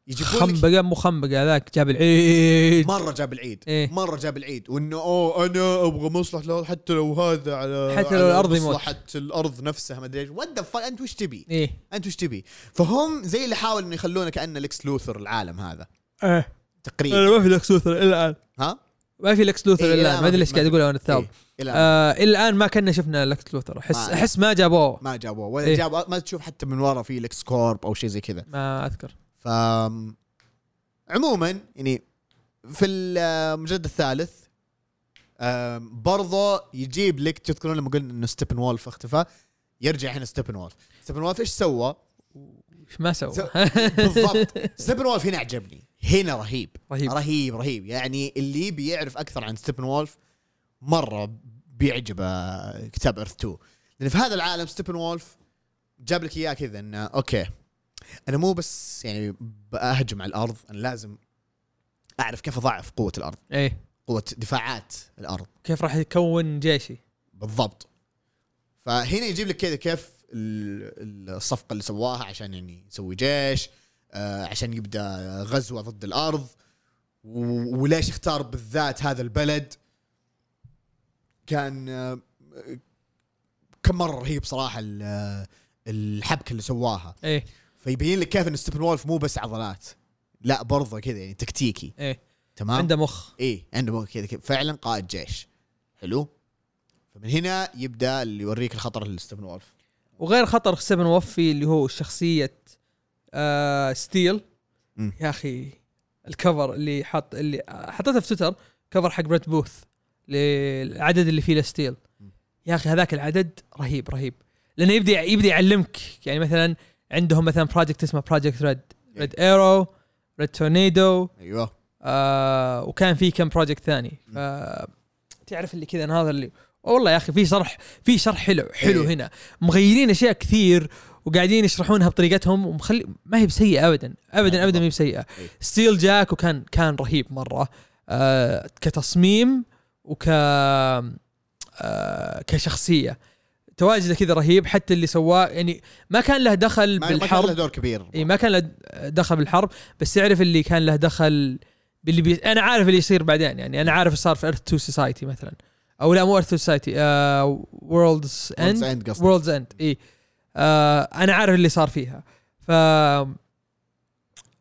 Speaker 1: يجيبون لك
Speaker 2: خنبقه مو خنبقه ذاك جاب العيد
Speaker 1: مره جاب العيد
Speaker 2: إيه.
Speaker 1: مره جاب العيد وانه اوه انا ابغى مصلحه الأرض حتى لو هذا على
Speaker 2: حتى لو
Speaker 1: على
Speaker 2: الأرض يموت.
Speaker 1: مصلحه الارض نفسها ما ادري ايش وات انت وش تبي؟
Speaker 2: ايه
Speaker 1: انت وش تبي؟ فهم زي اللي حاولوا انه يخلونه كانه لكس لوثر العالم هذا
Speaker 2: ايه
Speaker 1: تقريبا
Speaker 2: أنا ما في لكس لوثر الى الان
Speaker 1: إيه. ها؟
Speaker 2: ما في لكس لوثر
Speaker 1: إيه،
Speaker 2: الى
Speaker 1: لا،
Speaker 2: الان
Speaker 1: ما
Speaker 2: ما ادري
Speaker 1: في-
Speaker 2: ليش
Speaker 1: ما
Speaker 2: قاعد
Speaker 1: في.
Speaker 2: اقول انا الثوب
Speaker 1: إيه. الى
Speaker 2: آه، الى الان ما كنا شفنا لكس لوثر احس
Speaker 1: ما-
Speaker 2: احس ما جابوه
Speaker 1: ما جابوه ولا
Speaker 2: إيه.
Speaker 1: جابوا ما تشوف حتى من ورا في لكس كورب او شيء زي كذا
Speaker 2: ما اذكر
Speaker 1: ف عموما يعني في المجلد الثالث آم، برضه يجيب لك تذكرون لما قلنا انه ستيبن وولف اختفى يرجع هنا ستيبن وولف ستيبن وولف ايش سوى؟
Speaker 2: وش ما سوى *laughs*
Speaker 1: بالضبط ستيبن وولف هنا عجبني هنا رهيب
Speaker 2: رهيب.
Speaker 1: رهيب رهيب يعني اللي بيعرف اكثر عن ستيبن وولف مره بيعجبه كتاب ايرث 2 لان في هذا العالم ستيبن وولف جاب لك اياه كذا انه اوكي انا مو بس يعني باهجم على الارض انا لازم اعرف كيف اضاعف قوه الارض
Speaker 2: ايه
Speaker 1: قوه دفاعات الارض
Speaker 2: كيف راح يكون جيشي
Speaker 1: بالضبط فهنا يجيب لك كذا كيف ال- ال- الصفقه اللي سواها عشان يعني يسوي جيش آه، عشان يبدا غزوه ضد الارض و- وليش اختار بالذات هذا البلد كان آه، كم مره رهيب صراحه ال- آه، الحبكه اللي سواها
Speaker 2: ايه
Speaker 1: فيبين لك كيف ان ستيفن وولف مو بس عضلات لا برضه كذا يعني تكتيكي
Speaker 2: ايه
Speaker 1: تمام
Speaker 2: عنده مخ
Speaker 1: ايه عنده مو- كذا كذا فعلا قائد جيش حلو فمن هنا يبدا اللي يوريك الخطر اللي ستيفن وولف
Speaker 2: وغير خطر سبن وفي اللي هو شخصيه آه ستيل
Speaker 1: مم.
Speaker 2: يا اخي الكفر اللي حط اللي حطيته في تويتر كفر حق بريت بوث للعدد اللي فيه لستيل
Speaker 1: مم.
Speaker 2: يا اخي هذاك العدد رهيب رهيب لانه يبدا يبدا يعلمك يعني مثلا عندهم مثلا بروجكت اسمه بروجكت ريد
Speaker 1: إيه.
Speaker 2: ريد ايرو ريد تورنيدو
Speaker 1: ايوه
Speaker 2: آه وكان في كم بروجكت ثاني ف تعرف اللي كذا أنا هذا اللي والله يا اخي في شرح في شرح حلو حلو
Speaker 1: إيه.
Speaker 2: هنا مغيرين اشياء كثير وقاعدين يشرحونها بطريقتهم ومخلي ما هي بسيئه ابدا ابدا ابدا ما هي بسيئه
Speaker 1: إيه.
Speaker 2: ستيل جاك وكان كان رهيب مره آه كتصميم وك آه كشخصيه تواجده كذا رهيب حتى اللي سواه يعني ما كان له دخل
Speaker 1: ما- ما كان له
Speaker 2: بالحرب
Speaker 1: دور كبير
Speaker 2: اي إيه، ما كان له دخل بالحرب بس تعرف اللي كان له دخل باللي بي... انا عارف اللي يصير بعدين يعني انا عارف اللي صار في ايرث 2 سوسايتي مثلا او لا مو ايرث 2 سوسايتي آه، وورلدز
Speaker 1: World's
Speaker 2: اند
Speaker 1: End قصدي.
Speaker 2: وورلدز اند اي آه انا عارف اللي صار فيها ف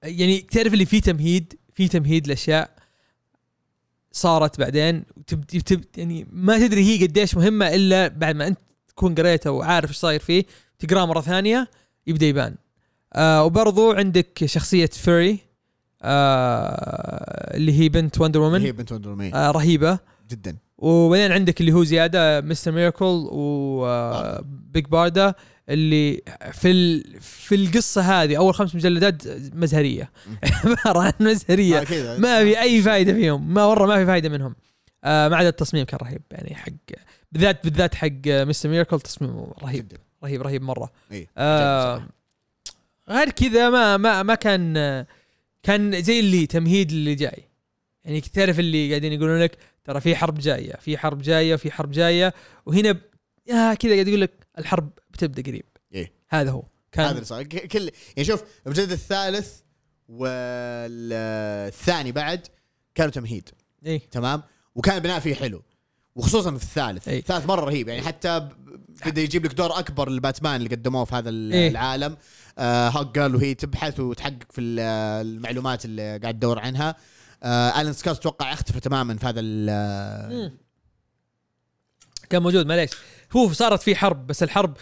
Speaker 2: يعني تعرف اللي في تمهيد في تمهيد لاشياء صارت بعدين وتب... تب... يعني ما تدري هي قديش مهمه الا بعد ما انت تكون قريته وعارف ايش صاير فيه تقراه مره ثانيه يبدا يبان آه وبرضو عندك شخصية فيري آه اللي هي بنت وندر
Speaker 1: هي
Speaker 2: وومن
Speaker 1: بنت وندر وومن
Speaker 2: آه رهيبة
Speaker 1: جدا
Speaker 2: وبعدين عندك اللي هو زيادة مستر ميركل وبيج باردا آه، اللي في ال في القصة هذه أول خمس مجلدات مزهرية *laughs* عبارة عن مزهرية
Speaker 1: آه، كذا
Speaker 2: ما في أي فائدة فيهم ما مرة ما في فائدة منهم آه ما عدا التصميم كان رهيب يعني حق بالذات بالذات حق مستر ميركل تصميمه رهيب
Speaker 1: جدا
Speaker 2: رهيب رهيب مرة
Speaker 1: اي
Speaker 2: آه، غير كذا ما ما ما كان كان زي اللي تمهيد اللي جاي يعني تعرف اللي قاعدين يقولون لك ترى في حرب جايه في حرب جايه في حرب جايه وهنا ب... آه كذا قاعد يقول لك الحرب بتبدا قريب
Speaker 1: إيه.
Speaker 2: هذا هو
Speaker 1: هذا اللي
Speaker 2: كان
Speaker 1: صار ك- كل يعني شوف المجلد الثالث والثاني بعد كانوا تمهيد
Speaker 2: اي
Speaker 1: تمام وكان البناء فيه حلو وخصوصا في الثالث
Speaker 2: إي.
Speaker 1: الثالث مره رهيب يعني حتى ب- بدا يجيب لك دور اكبر لباتمان اللي قدموه في هذا ال-
Speaker 2: إي.
Speaker 1: العالم آه هوك جيرل وهي تبحث وتحقق في ال- المعلومات اللي قاعد تدور عنها آه الن سكوت اتوقع اختفى تماما في هذا ال-
Speaker 2: كان موجود معليش هو صارت في حرب بس الحرب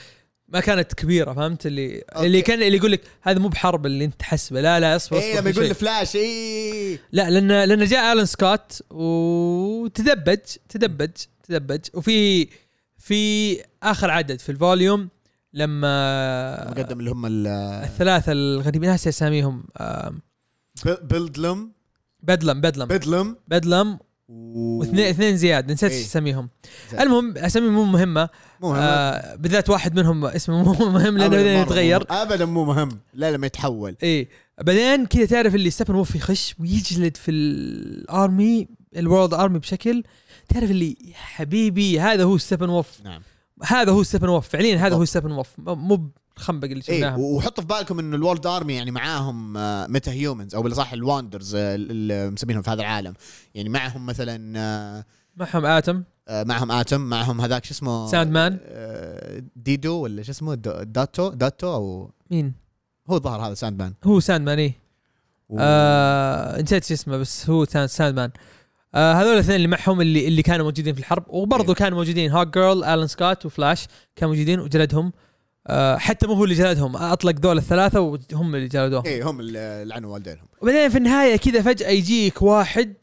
Speaker 2: ما كانت كبيره فهمت اللي أوكي. اللي كان اللي يقول لك هذا مو بحرب اللي انت تحسبه لا لا اصبر
Speaker 1: اي
Speaker 2: اصبر
Speaker 1: إيه، لما
Speaker 2: في
Speaker 1: يقول
Speaker 2: شيء.
Speaker 1: فلاش إيه. اي
Speaker 2: لا لان لان جاء الن سكوت وتدبج تدبج تدبج وفي في اخر عدد في الفوليوم لما
Speaker 1: مقدم اللي هم ال-
Speaker 2: الثلاثه الغريبين ناسي اساميهم آم،
Speaker 1: ب- بلدلم
Speaker 2: بدلم بدلم
Speaker 1: بدلم
Speaker 2: بدلم
Speaker 1: و-
Speaker 2: واثنين اثنين زياد نسيت
Speaker 1: إيه.
Speaker 2: ايش اساميهم
Speaker 1: زين.
Speaker 2: المهم اسامي مو مهمه
Speaker 1: مو مهم.
Speaker 2: آه بالذات واحد منهم اسمه مو مهم لانه
Speaker 1: أبداً
Speaker 2: بعدين
Speaker 1: مرة
Speaker 2: يتغير
Speaker 1: مو- ابدا مو مهم لا لما يتحول
Speaker 2: ايه بعدين كذا تعرف اللي ستيفن وولف يخش ويجلد في الارمي الورلد ارمي بشكل تعرف اللي يا حبيبي هذا هو ستيفن وولف
Speaker 1: نعم
Speaker 2: هذا هو ستيفن وولف فعليا هذا
Speaker 1: بالضبط.
Speaker 2: هو ستيفن وولف م- مو الخنبق اللي
Speaker 1: ايه
Speaker 2: شفناها
Speaker 1: وحطوا في بالكم انه الورد ارمي يعني معاهم آه، ميتا هيومنز او بالاصح الواندرز آه، اللي مسمينهم في هذا العالم يعني معهم مثلا آه،
Speaker 2: معهم اتم
Speaker 1: آه، معهم اتم معهم هذاك شو اسمه
Speaker 2: ساند مان
Speaker 1: آه، ديدو ولا شو اسمه دا- داتو داتو او
Speaker 2: مين
Speaker 1: هو ظهر هذا ساند مان
Speaker 2: هو ساند مان ايه
Speaker 1: و-
Speaker 2: آه نسيت شو اسمه بس هو ساند ساند مان آه هذول الاثنين اللي معهم اللي اللي كانوا موجودين في الحرب وبرضه
Speaker 1: إيه.
Speaker 2: كانوا موجودين هوك جيرل الان سكوت وفلاش كانوا موجودين وجلدهم آه حتى مو هو اللي جلدهم اطلق ذول الثلاثه وهم اللي جلدوهم
Speaker 1: ايه هم اللي لعنوا والدينهم
Speaker 2: وبعدين في النهايه كذا فجاه يجيك واحد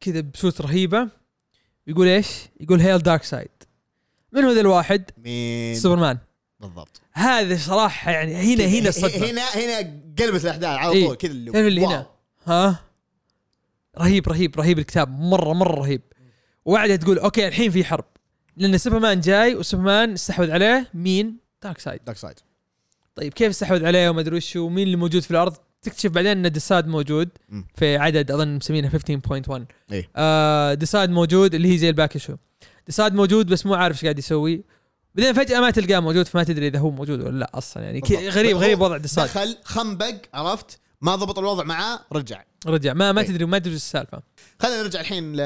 Speaker 2: كذا بصوت رهيبه يقول ايش؟ يقول هيل دارك سايد من هو ذا الواحد؟
Speaker 1: مين
Speaker 2: سوبرمان
Speaker 1: بالضبط
Speaker 2: هذا صراحه يعني هنا هنا الصدمه
Speaker 1: هنا هنا قلبت الاحداث على
Speaker 2: إيه.
Speaker 1: طول كذا اللي
Speaker 2: تعرف اللي
Speaker 1: واو.
Speaker 2: هنا ها رهيب رهيب رهيب الكتاب مره مره رهيب وبعدها تقول اوكي الحين في حرب لان سوبرمان جاي وسوبرمان استحوذ عليه مين؟ دارك سايد
Speaker 1: دارك سايد
Speaker 2: طيب كيف استحوذ عليه وما ادري وش ومين اللي موجود في الارض تكتشف بعدين ان ديساد موجود
Speaker 1: مم.
Speaker 2: في عدد اظن مسمينه 15.1
Speaker 1: إيه.
Speaker 2: آه ديساد موجود اللي هي زي الباك شو ديساد موجود بس مو عارف ايش قاعد يسوي بعدين فجاه ما تلقاه موجود فما تدري اذا هو موجود ولا لا اصلا يعني كي-
Speaker 1: بالضبط.
Speaker 2: غريب
Speaker 1: هو
Speaker 2: غريب وضع ديساد
Speaker 1: دخل خنبق عرفت ما ضبط الوضع معاه رجع
Speaker 2: رجع ما ما
Speaker 1: إيه.
Speaker 2: تدري ما تدري وش السالفه
Speaker 1: خلينا نرجع الحين ل...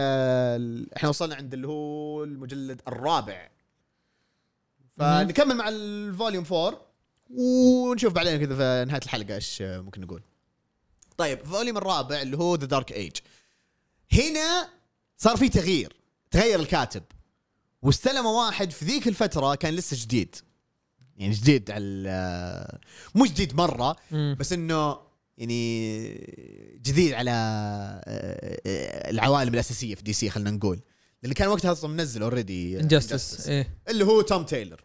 Speaker 1: احنا وصلنا عند اللي هو المجلد الرابع فنكمل مع الفوليوم 4 ونشوف بعدين كذا في نهايه الحلقه ايش ممكن نقول طيب الفوليوم الرابع اللي هو ذا دارك ايج هنا صار في تغيير تغير الكاتب واستلمه واحد في ذيك الفتره كان لسه جديد يعني جديد على ال- مو جديد مره
Speaker 2: مم.
Speaker 1: بس انه يعني جديد على آه، آه، العوالم الاساسيه في دي سي خلينا نقول لان كان وقتها اصلا منزل اوريدي
Speaker 2: انجستس ايه
Speaker 1: اللي هو توم تايلر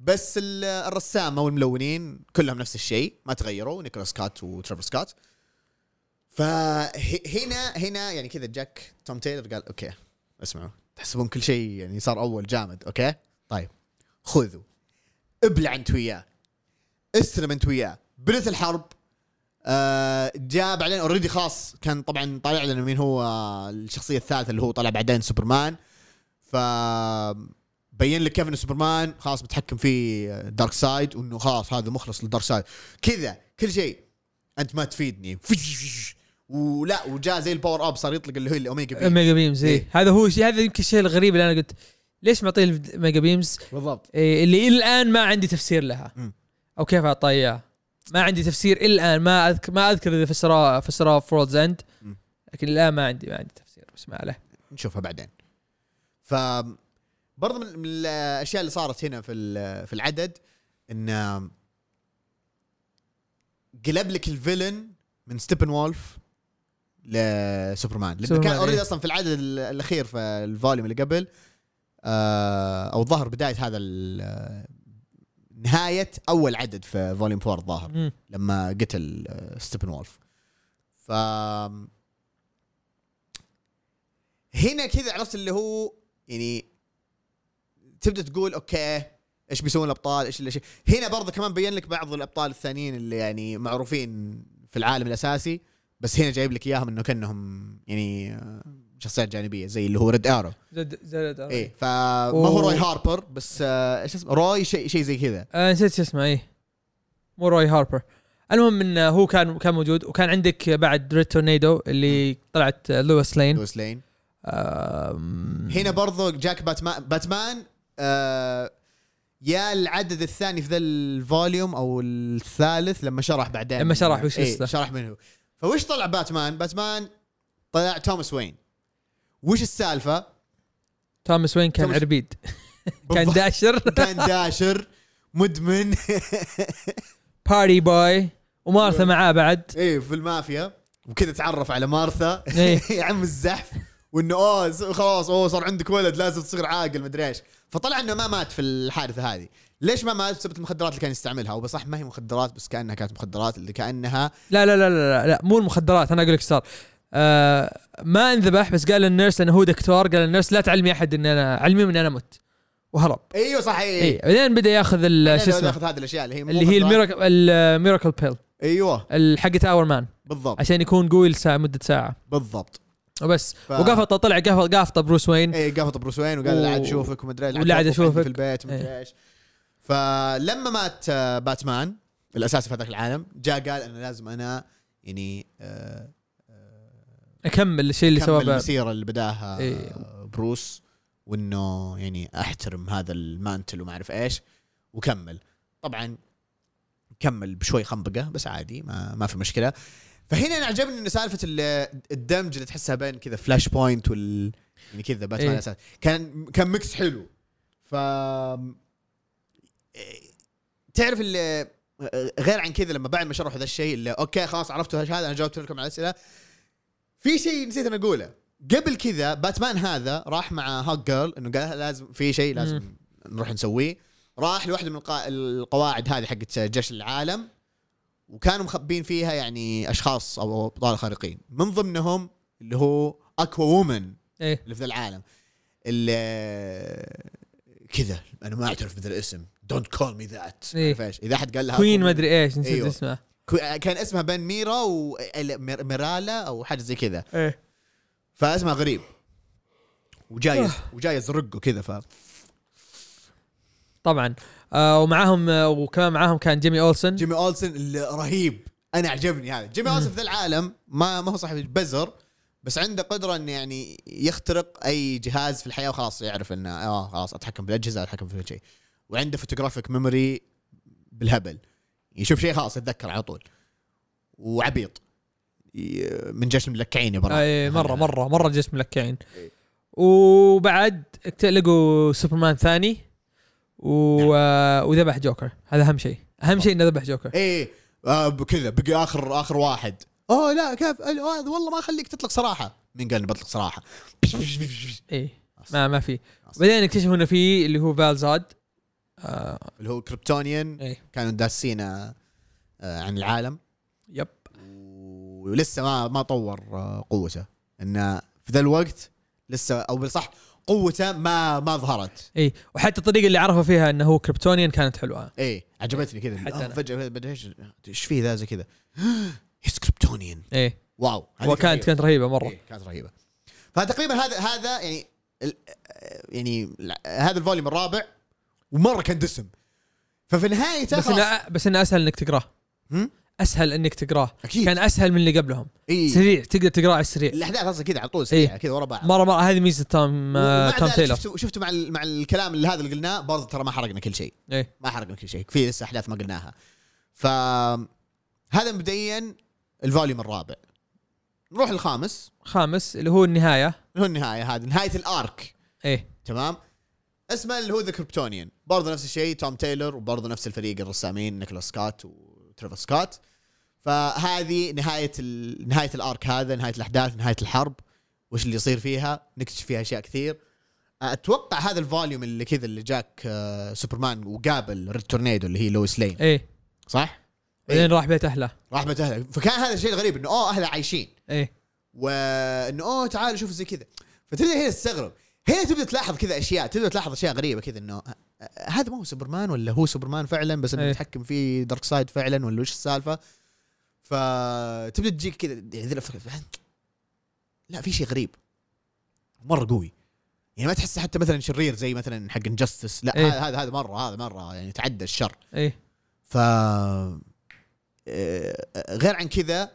Speaker 1: بس ال- الرسام او الملونين كلهم نفس الشيء ما تغيروا نيكولاس كات وترافر سكات فهنا هنا يعني كذا جاك توم تايلر قال اوكي اسمعوا تحسبون كل شيء يعني صار اول جامد اوكي طيب خذوا ابلع انت وياه استلم انت وياه بدت الحرب آه جاء بعدين اوريدي خاص كان طبعا طالع لنا مين هو آه، الشخصيه الثالثه اللي هو طلع بعدين سوبرمان ف بين لك كيف ان سوبرمان خلاص متحكم في دارك سايد وانه خلاص هذا مخلص للدارك سايد كذا كل شيء انت ما تفيدني ولا وجاء زي الباور اب صار يطلق اللي هو الاوميجا بي
Speaker 2: ميجا بيمز إيه.
Speaker 1: إيه.
Speaker 2: هذا هو شيء هذا يمكن الشيء الغريب اللي انا قلت ليش معطيه الميجا بيمز
Speaker 1: بالضبط
Speaker 2: إيه، اللي الى الان ما عندي تفسير لها
Speaker 1: مم.
Speaker 2: او كيف اعطاه إياها. ما عندي تفسير الى الان ما اذكر ما اذكر اذا فسرها فسرها فرولز اند
Speaker 1: مم.
Speaker 2: لكن الان ما عندي ما عندي تفسير بس ما عليه
Speaker 1: نشوفها بعدين ف برضه من من الاشياء اللي صارت هنا في ال- في العدد ان قلب لك الفيلن من ستيبن وولف لسوبرمان لانه
Speaker 2: سوبرمان،
Speaker 1: كان اوريدي
Speaker 2: إيه.
Speaker 1: اصلا في العدد ال- الاخير في الفوليوم اللي قبل آه، او ظهر بدايه هذا ال- نهايه اول عدد في فوليوم 4 الظاهر
Speaker 2: مم.
Speaker 1: لما قتل آه، ستيبن وولف ف هنا كذا عرفت اللي هو يعني تبدا تقول اوكي ايش بيسوون الابطال ايش اللي شي. هنا برضه كمان بين لك بعض الابطال الثانيين اللي يعني معروفين في العالم الاساسي بس هنا جايب لك اياهم انه كانهم يعني آه، شخصيات جانبيه زي اللي هو ريد ارو
Speaker 2: زد زد
Speaker 1: اي فما هو
Speaker 2: أوه.
Speaker 1: روي هاربر بس آه، ايش اسمه روي شيء شيء زي كذا
Speaker 2: آه نسيت شو اسمه ايه مو روي هاربر المهم انه هو كان كان موجود وكان عندك بعد ريد تورنيدو اللي طلعت آه، لويس لين
Speaker 1: لويس لين
Speaker 2: آم،
Speaker 1: هنا برضو جاك باتمان باتمان آه يا العدد الثاني في ذا الفوليوم او الثالث لما شرح بعدين
Speaker 2: لما شرح وش
Speaker 1: إيه
Speaker 2: قصته.
Speaker 1: شرح منه فوش طلع باتمان باتمان طلع توماس وين وش السالفه
Speaker 2: توماس وين كان
Speaker 1: توماس- *laughs*
Speaker 2: عربيد كان
Speaker 1: بالضبط.
Speaker 2: داشر
Speaker 1: كان داشر مدمن
Speaker 2: باري بوي ومارثا معاه بعد
Speaker 1: ايه في المافيا وكذا تعرف على مارثا
Speaker 2: إيه.
Speaker 1: *laughs* يا عم الزحف وانه اوه ز- خلاص اوه صار عندك ولد لازم تصير عاقل مدري ايش فطلع انه ما مات في الحادثه هذه ليش ما مات بسبب المخدرات اللي كان يستعملها او صح ما هي مخدرات بس كانها كانت مخدرات اللي كانها
Speaker 2: لا لا لا لا, لا مو المخدرات انا اقول لك صار آه ما انذبح بس قال للنيرس انه هو دكتور قال للنيرس لا تعلمي احد ان انا علمي ان انا مت وهرب
Speaker 1: ايوه صح اي
Speaker 2: اي بعدين بدا ياخذ ال- إيه. شو اسمه
Speaker 1: ناخذ هذه الاشياء اللي هي مو
Speaker 2: اللي هي
Speaker 1: مخدرات.
Speaker 2: الميراكل الميراكل بيل
Speaker 1: ايوه
Speaker 2: حقت اور مان
Speaker 1: بالضبط
Speaker 2: عشان يكون قوي لساعة مدة ساعة
Speaker 1: بالضبط
Speaker 2: وبس
Speaker 1: ف- إيه.
Speaker 2: وقفطه طلع قفط قافطه بروس وين
Speaker 1: اي قفط بروس وين وقال لا عاد
Speaker 2: و-
Speaker 1: شوفك ومدري ايش
Speaker 2: ولا عاد
Speaker 1: عاد أشوفك عندي
Speaker 2: أشوفك.
Speaker 1: في البيت ومدري
Speaker 2: إيه.
Speaker 1: ايش فلما مات آه، باتمان الاساسي في هذاك العالم جاء قال انا لازم انا يعني آه،
Speaker 2: اكمل الشيء اللي سواه
Speaker 1: اكمل
Speaker 2: بعد.
Speaker 1: المسيره اللي بداها
Speaker 2: إيه.
Speaker 1: آه، بروس وانه يعني احترم هذا المانتل وما اعرف ايش وكمل طبعا كمل بشوي خنبقه بس عادي ما, ما في مشكله فهنا انا عجبني انه سالفه ال- الدمج اللي تحسها بين كذا فلاش بوينت وال يعني كذا باتمان
Speaker 2: إيه.
Speaker 1: إيه؟ كان كان ميكس حلو ف تعرف اللي غير عن كذا لما بعد ما شرحوا ذا الشيء اللي اوكي خلاص عرفتوا ايش هذا انا جاوبت لكم على الاسئله في شيء نسيت انا اقوله قبل كذا باتمان هذا راح مع هوك جيرل انه قال لازم في شيء لازم نروح نسويه راح لوحده من القا- القواعد هذه حقت جيش العالم وكانوا مخبين فيها يعني اشخاص او ابطال خارقين من ضمنهم اللي هو اكوا وومن
Speaker 2: ايه
Speaker 1: اللي في ذا العالم اللي كذا انا ما اعترف بهذا الاسم دونت كول مي ذات
Speaker 2: إيه.
Speaker 1: اذا احد قال لها
Speaker 2: كوين
Speaker 1: Aquawoman-
Speaker 2: ما ادري ايش نسيت
Speaker 1: أيوة.
Speaker 2: اسمه
Speaker 1: كو- كان اسمها بين ميرا و ال- مير- ميرالا او حاجه زي كذا
Speaker 2: ايه
Speaker 1: فاسمها غريب وجايز وجايز رقه كذا ف
Speaker 2: طبعا آه ومعاهم آه وكمان معاهم كان جيمي اولسن
Speaker 1: جيمي اولسن الرهيب انا عجبني هذا جيمي اولسن في ذا العالم ما ما هو صاحب بزر بس عنده قدره انه يعني يخترق اي جهاز في الحياه وخلاص يعرف انه اه خلاص اتحكم بالاجهزه اتحكم في كل شيء وعنده فوتوغرافيك ميموري بالهبل يشوف شيء خلاص يتذكر على طول وعبيط ي- من جيش الملكعين يا برا
Speaker 2: اي مره
Speaker 1: *laughs*
Speaker 2: مره مره جسم ملكعين
Speaker 1: إيه.
Speaker 2: وبعد اكت- لقوا سوبرمان ثاني
Speaker 1: نعم.
Speaker 2: و... آه وذبح جوكر هذا اهم شيء اهم شيء انه ذبح جوكر
Speaker 1: ايه آه كذا بقي اخر اخر واحد اوه لا كيف آه، والله ما اخليك تطلق صراحه مين قال إني بطلق صراحه
Speaker 2: اي إيه. ما ما في بعدين اكتشفوا انه في اللي هو فالزاد آه
Speaker 1: *laughs* اللي هو كريبتونيان
Speaker 2: ايه
Speaker 1: كانوا داسين آه، آه، عن العالم
Speaker 2: يب
Speaker 1: ولسه ما ما طور آه، قوته انه في ذا الوقت لسه او بالصح قوته ما ما ظهرت
Speaker 2: اي إيه. وحتى الطريقه اللي عرفوا فيها انه هو كريبتونيان كانت حلوه
Speaker 1: ايه عجبتني كذا
Speaker 2: حتى
Speaker 1: آه،
Speaker 2: أنا.
Speaker 1: فجاه كذا بدأ ايش ايش فيه ذا زي كذا *gasps* هيز كريبتونيان
Speaker 2: اي
Speaker 1: واو هذه
Speaker 2: وكانت إيه. كانت رهيبه مره
Speaker 1: إيه، كانت رهيبه فتقريبا هذا هذا يعني ال- آه، يعني ال- هذا الفوليوم الرابع ومره كان دسم ففي نهايته
Speaker 2: بس
Speaker 1: خلاص.
Speaker 2: انه بس انه اسهل انك تقراه
Speaker 1: هم؟
Speaker 2: اسهل انك تقراه
Speaker 1: أكيد.
Speaker 2: كان اسهل من اللي قبلهم
Speaker 1: إيه.
Speaker 2: سريع تقدر تقراه على السريع
Speaker 1: الاحداث اصلا كذا على طول سريعه
Speaker 2: إيه.
Speaker 1: كذا ورا بعض
Speaker 2: مره مره هذه ميزه توم آه،
Speaker 1: ومع
Speaker 2: توم
Speaker 1: ذلك
Speaker 2: تايلر
Speaker 1: شفتوا شفتوا مع ال- مع الكلام اللي هذا اللي قلناه برضه ترى ما حرقنا كل شيء
Speaker 2: ايه
Speaker 1: ما حرقنا كل شيء في لسه احداث ما قلناها ف هذا مبدئيا الفوليوم الرابع نروح الخامس
Speaker 2: خامس اللي هو النهايه
Speaker 1: اللي هو النهايه هذه نهايه الارك
Speaker 2: ايه
Speaker 1: تمام اسمه اللي هو ذا كريبتونيان برضه نفس الشيء توم تايلور وبرضه نفس الفريق الرسامين نيكولاس سكوت وتريفر سكوت فهذه نهايه ال... نهايه الارك هذا نهايه الاحداث نهايه الحرب وش اللي يصير فيها نكتشف فيها اشياء كثير اتوقع هذا الفوليوم اللي كذا اللي جاك آه، سوبرمان وقابل ريد تورنيدو اللي هي لويس لين
Speaker 2: ايه
Speaker 1: صح؟
Speaker 2: بعدين
Speaker 1: إيه.
Speaker 2: راح بيت اهله
Speaker 1: راح بيت اهله فكان هذا الشيء الغريب انه اوه اهله عايشين
Speaker 2: ايه
Speaker 1: وانه اوه تعال شوف زي كذا فتبدا هنا تستغرب هنا تبدا تلاحظ كذا اشياء تبدا تلاحظ اشياء غريبه كذا انه ه- هذا ما هو سوبرمان ولا هو سوبرمان فعلا بس انه
Speaker 2: إيه.
Speaker 1: يتحكم فيه دارك سايد فعلا ولا وش السالفه فتبدا تجيك كذا يعني ذي الأفكار. لا في شيء غريب مره قوي يعني ما تحسه حتى مثلا شرير زي مثلا حق انجستس لا
Speaker 2: إيه.
Speaker 1: هذا هذا هذا مره هذا مره يعني تعدى الشر
Speaker 2: ايه
Speaker 1: ف آه، غير عن كذا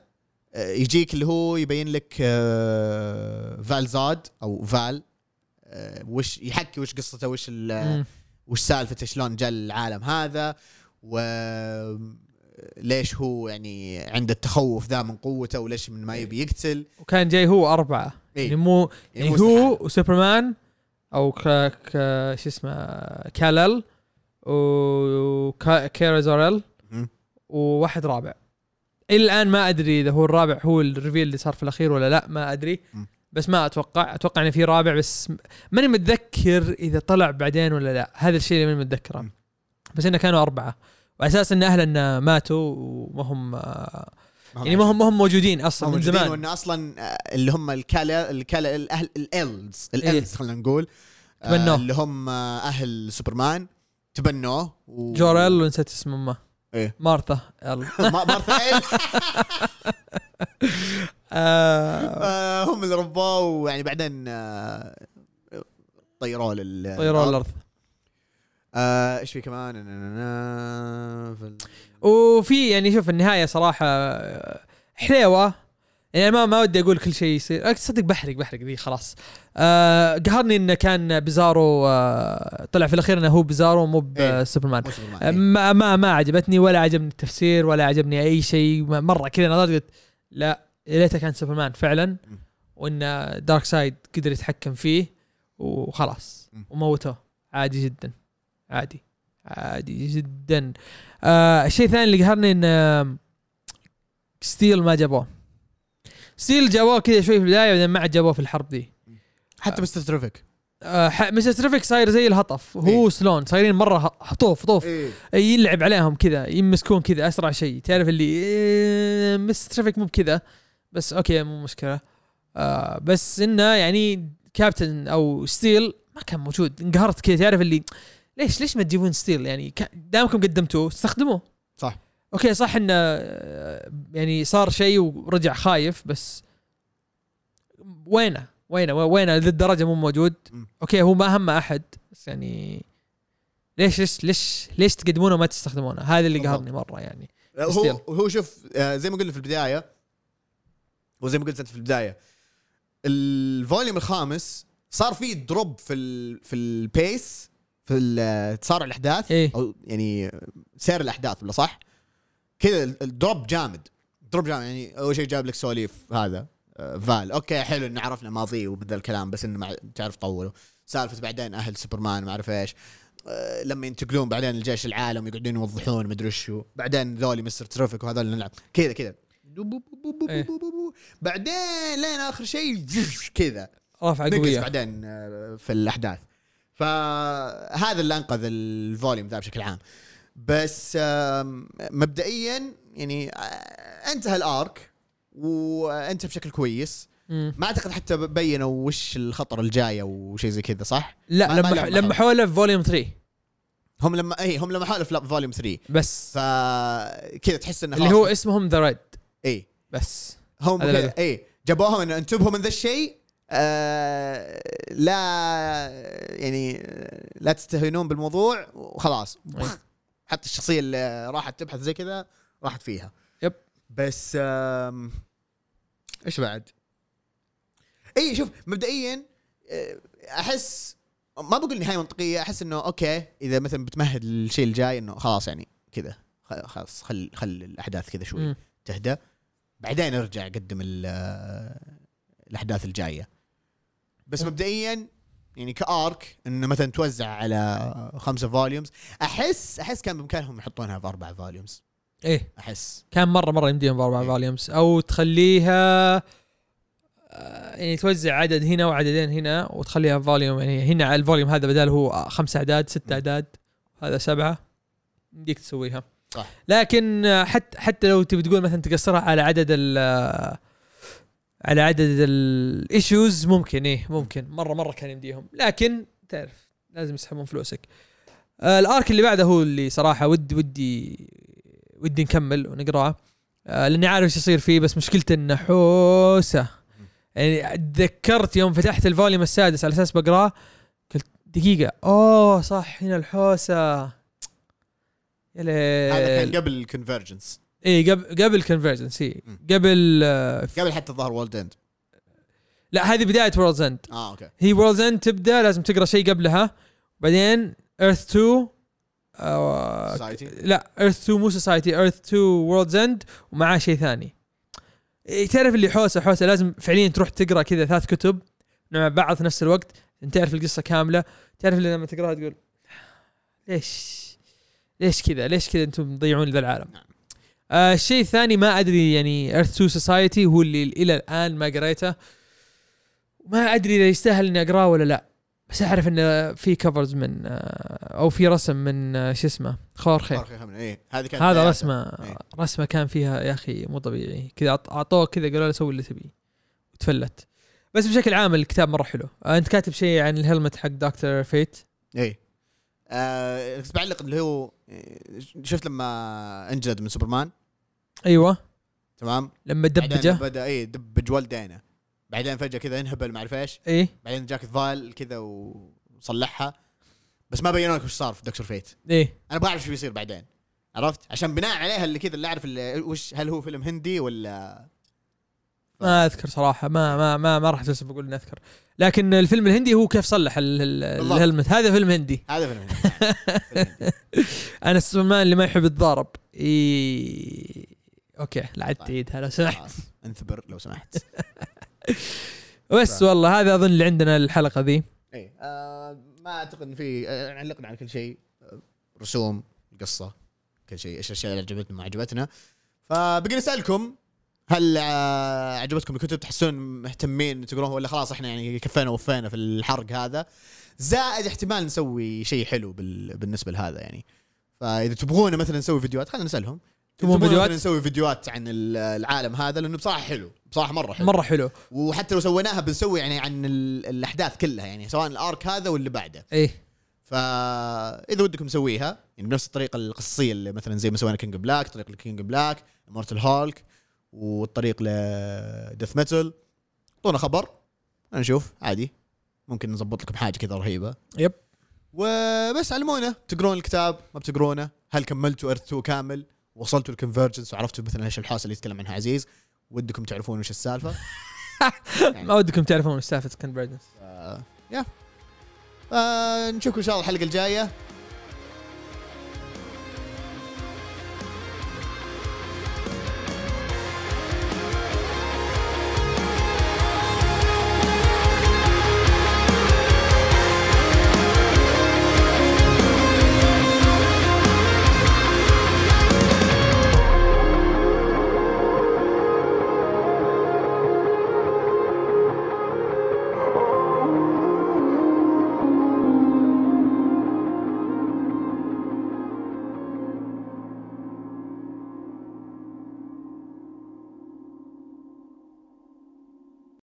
Speaker 1: آه، يجيك اللي هو يبين لك آه، فالزاد او فال آه، وش يحكي وش قصته وش ال-
Speaker 2: مم.
Speaker 1: وش سالفته شلون جاء العالم هذا و آه، ليش هو يعني عنده التخوف ذا من قوته وليش من ما يبي يقتل
Speaker 2: وكان جاي هو اربعه
Speaker 1: إيه.
Speaker 2: يعني مو يعني
Speaker 1: مو
Speaker 2: هو
Speaker 1: استحالة.
Speaker 2: وسوبرمان او ك... ك... شو اسمه كالل وكيرا زوريل
Speaker 1: مم.
Speaker 2: وواحد رابع الى الان ما ادري اذا هو الرابع هو الريفيل اللي صار في الاخير ولا لا ما ادري
Speaker 1: مم.
Speaker 2: بس ما اتوقع اتوقع انه في رابع بس م- ماني متذكر اذا طلع بعدين ولا لا هذا الشيء اللي ماني متذكره
Speaker 1: مم.
Speaker 2: بس انه كانوا اربعه وعلى اساس ان اهله انه ماتوا وما هم آه،
Speaker 1: هم
Speaker 2: يعني ما هم ما هم موجودين
Speaker 1: هم
Speaker 2: اصلا من
Speaker 1: موجودين
Speaker 2: زمان
Speaker 1: وانه اصلا آه، اللي هم الكالا الكالا الاهل الالز الالز خلينا نقول آه،
Speaker 2: إيه. تبنوه.
Speaker 1: اللي هم آه، اهل سوبرمان تبنوه و...
Speaker 2: جوريل ونسيت اسم امه
Speaker 1: إيه. *laughs*
Speaker 2: مارثا يلا
Speaker 1: ما- مارثيل
Speaker 2: آه،
Speaker 1: آه، هم اللي ربوه ويعني بعدين آه، طيروه لل
Speaker 2: طيروا الارض
Speaker 1: آه، ايش في كمان نا- نا- نا- في ال-
Speaker 2: وفي يعني شوف النهايه صراحه آه، حليوه يعني ما ما ودي اقول كل شيء يصير أك- صدق بحرق بحرق ذي خلاص آه قهرني انه كان بيزارو آه طلع في الاخير انه هو بيزارو مو
Speaker 1: إيه.
Speaker 2: بسوبرمان
Speaker 1: مو سوبرمان.
Speaker 2: آه، ما ما ما عجبتني ولا عجبني التفسير ولا عجبني اي شيء ما- مره كذا نظرت قلت لا يا ليته كان سوبرمان فعلا وان دارك سايد قدر يتحكم فيه وخلاص
Speaker 1: مم.
Speaker 2: وموته عادي جدا عادي عادي جدا آه الشيء الثاني اللي قهرني ان آم، ستيل ما جابوه ستيل جابوه كذا شوي في البدايه بعدين ما عاد جابوه في الحرب دي
Speaker 1: حتى مستر ترافيك
Speaker 2: آه ح- مستر تريفيك صاير زي الهطف هو
Speaker 1: إيه.
Speaker 2: سلون صايرين مره ه- هطوف هطوف
Speaker 1: ايه
Speaker 2: يلعب عليهم كذا يمسكون كذا اسرع شيء تعرف اللي إيه، مس ترافيك مو بكذا بس اوكي مو مشكله آه بس انه يعني كابتن او ستيل ما كان موجود انقهرت كذا تعرف اللي ليش ليش ما تجيبون ستيل يعني كا- دامكم قدمتوه استخدموه
Speaker 1: صح.
Speaker 2: اوكي صح انه آه، يعني صار شيء ورجع خايف بس وينه وينه وينه للدرجه مو موجود
Speaker 1: مم.
Speaker 2: اوكي هو ما هم احد بس يعني ليش ليش ليش ليش تقدمونه وما تستخدمونه هذا اللي
Speaker 1: بالضبط.
Speaker 2: قهرني مره يعني
Speaker 1: آه، هو
Speaker 2: ستيل.
Speaker 1: هو شوف آه، زي ما قلنا في البدايه وزي ما قلت انت في البدايه الفوليوم الخامس صار في دروب في ال في البيس في ال- آه، تسارع الاحداث
Speaker 2: إيه.
Speaker 1: او يعني سير الاحداث ولا صح؟ كذا ال- الدروب جامد دروب جامد يعني اول شيء جاب لك سواليف هذا آه، فال اوكي حلو ان عرفنا ماضيه وبدا الكلام بس انه مع- تعرف طوله سالفه بعدين اهل سوبرمان ما اعرف ايش آه، لما ينتقلون بعدين الجيش العالم يقعدون يوضحون مدري شو بعدين ذولي مستر ترافيك وهذول اللي نلعب كذا كذا بو- بو- بو- بو-
Speaker 2: إيه.
Speaker 1: بو- بو- بو. بعدين لين اخر شيء كذا
Speaker 2: رافعه
Speaker 1: نقص
Speaker 2: قويه
Speaker 1: بعدين آه، في الاحداث فهذا اللي انقذ الفوليوم ذا بشكل عام بس آم، مبدئيا يعني آه، انتهى الارك وانتهى بشكل كويس
Speaker 2: مم.
Speaker 1: ما اعتقد حتى بينوا وش الخطر الجاي او شيء زي كذا صح؟
Speaker 2: لا
Speaker 1: ما- ما
Speaker 2: لما
Speaker 1: لعب
Speaker 2: لما
Speaker 1: معهم.
Speaker 2: حوله في فوليوم 3
Speaker 1: هم لما اي هم لما حالوا في فوليوم 3
Speaker 2: بس
Speaker 1: فكذا تحس انه
Speaker 2: اللي هو اسمهم ذا ريد
Speaker 1: اي
Speaker 2: بس
Speaker 1: هم
Speaker 2: هذا
Speaker 1: كذا
Speaker 2: لعبة.
Speaker 1: اي جابوهم انه انتبهوا من ذا الشيء آه لا يعني لا تستهينون بالموضوع وخلاص
Speaker 2: أي.
Speaker 1: حتى الشخصيه اللي راحت تبحث زي كذا راحت فيها
Speaker 2: يب.
Speaker 1: بس آم، ايش بعد؟ اي شوف مبدئيا آه، احس ما بقول نهايه منطقيه احس انه اوكي اذا مثلا بتمهد للشيء الجاي انه خلاص يعني كذا خ- خلاص خل خل الاحداث كذا شوي
Speaker 2: مم.
Speaker 1: تهدى بعدين ارجع اقدم ال- الاحداث الجايه بس مبدئيا يعني كارك انه مثلا توزع على خمسه فوليومز احس احس كان بامكانهم يحطونها في اربع فوليومز
Speaker 2: ايه
Speaker 1: احس
Speaker 2: كان مره مره يمديهم باربع
Speaker 1: إيه.
Speaker 2: فوليومز او تخليها آه، يعني توزع عدد هنا وعددين هنا وتخليها فوليوم يعني هنا على الفوليوم هذا بدال هو خمس اعداد ست
Speaker 1: مم.
Speaker 2: اعداد هذا سبعه يمديك تسويها
Speaker 1: صح.
Speaker 2: لكن آه، حتى حتى لو تبي تقول مثلا تقصرها على عدد ال آه، على عدد الايشوز ممكن ايه ممكن مره مره كان يمديهم لكن تعرف لازم يسحبون فلوسك آه، الارك اللي بعده هو اللي صراحه ود ودي ودي نكمل ونقراه آه، لاني عارف ايش يصير فيه بس مشكلته انه حوسه يعني تذكرت يوم فتحت الفوليوم السادس على اساس بقراه قلت دقيقه اوه صح هنا الحوسه يا
Speaker 1: هذا
Speaker 2: ليل
Speaker 1: كان قبل الكونفرجنس
Speaker 2: اي قبل إيه، قبل كونفرجنس اي
Speaker 1: مم.
Speaker 2: قبل آه، ف-
Speaker 1: قبل حتى ظهر وولد اند
Speaker 2: لا هذه بدايه وورلدز اند
Speaker 1: اه اوكي
Speaker 2: هي وورلدز اند تبدا لازم تقرا شيء قبلها بعدين ايرث 2 آه،
Speaker 1: Society.
Speaker 2: لا ايرث 2 مو سوسايتي ايرث 2 وورلدز اند ومعاه شيء ثاني إيه، تعرف اللي حوسه حوسه لازم فعليا تروح تقرا كذا ثلاث كتب مع بعض في نفس الوقت عشان تعرف القصه كامله تعرف اللي لما تقراها تقول ليش ليش كذا ليش كذا انتم تضيعون ذا العالم
Speaker 1: نعم.
Speaker 2: آه الشيء الثاني ما ادري يعني ايرث 2 سوسايتي هو اللي الى الان ما قريته ما ادري اذا يستاهل اني اقراه ولا لا بس اعرف انه في كفرز من آه، او في رسم من آه، شو اسمه خوارخي
Speaker 1: صار خير من- ايه هذه كانت
Speaker 2: هذا
Speaker 1: بداياته.
Speaker 2: رسمه
Speaker 1: إيه.
Speaker 2: رسمه كان فيها يا اخي مو طبيعي كذا أعط- اعطوه كذا قالوا له سوي اللي تبيه وتفلت بس بشكل عام الكتاب مره حلو آه، انت كاتب شيء عن الهلمت حق دكتور فيت
Speaker 1: ايه آه، بس بعلق اللي هو إيه، شفت لما انجلد من سوبرمان
Speaker 2: ايوه
Speaker 1: تمام
Speaker 2: لما
Speaker 1: بعدين
Speaker 2: دبجه
Speaker 1: بدا اي دبج والدينه بعدين فجاه كذا انهبل ما اعرف ايش
Speaker 2: ايه
Speaker 1: بعدين جاك فايل كذا وصلحها بس ما بينوا لك وش صار في دكتور فيت
Speaker 2: ايه
Speaker 1: انا ابغى اعرف شو بيصير بعدين عرفت عشان بناء عليها اللي كذا اللي اعرف اللي وش هل هو فيلم هندي ولا
Speaker 2: ما اذكر صراحه ما ما ما, ما راح اتفلسف اقول اني اذكر لكن الفيلم الهندي هو كيف صلح ال- ال-
Speaker 1: بالضبط.
Speaker 2: الهلمت هذا فيلم هندي
Speaker 1: هذا فيلم هندي فيلم هندي.
Speaker 2: انا السلمان اللي ما يحب يتضارب إي... اوكي لا عاد
Speaker 1: طيب.
Speaker 2: تعيدها لو سمحت
Speaker 1: خلاص انثبر لو سمحت
Speaker 2: بس
Speaker 1: طيب.
Speaker 2: والله هذا اظن اللي عندنا الحلقه ذي
Speaker 1: اي آه ما اعتقد ان في آه، علقنا على كل شيء آه، رسوم قصه كل شيء ايش الاشياء اللي عجبتنا ما عجبتنا فبقي نسالكم هل آه، عجبتكم الكتب تحسون مهتمين تقرون ولا خلاص احنا يعني كفينا ووفينا في الحرق هذا زائد احتمال نسوي شيء حلو بال- بالنسبه لهذا يعني فاذا تبغونا مثلا نسوي فيديوهات خلينا نسالهم
Speaker 2: تبون
Speaker 1: يبغون
Speaker 2: فيديوهات؟
Speaker 1: مثلاً نسوي فيديوهات عن ال- العالم هذا لانه بصراحه حلو بصراحه مره حلو
Speaker 2: مره حلو
Speaker 1: وحتى لو سويناها بنسوي يعني عن ال- الاحداث كلها يعني سواء الارك هذا واللي بعده
Speaker 2: ايه
Speaker 1: فاذا ودكم نسويها يعني بنفس الطريقه القصصيه اللي مثلا زي ما سوينا كينج بلاك طريق الكينج بلاك مورتل هالك والطريق لديث ميتل اعطونا خبر نشوف عادي ممكن نظبط لكم حاجه كذا رهيبه
Speaker 2: يب
Speaker 1: وبس علمونا تقرون الكتاب ما بتقرونه هل كملتوا ايرث 2 كامل وصلتوا الكونفرجنس وعرفتوا مثلا ايش الحوسه اللي يتكلم عنها عزيز ودكم تعرفون وش السالفه
Speaker 2: ما ودكم تعرفون وش سالفه كونفرجنس
Speaker 1: آه، يا آه، نشوفكم ان شاء الله الحلقه الجايه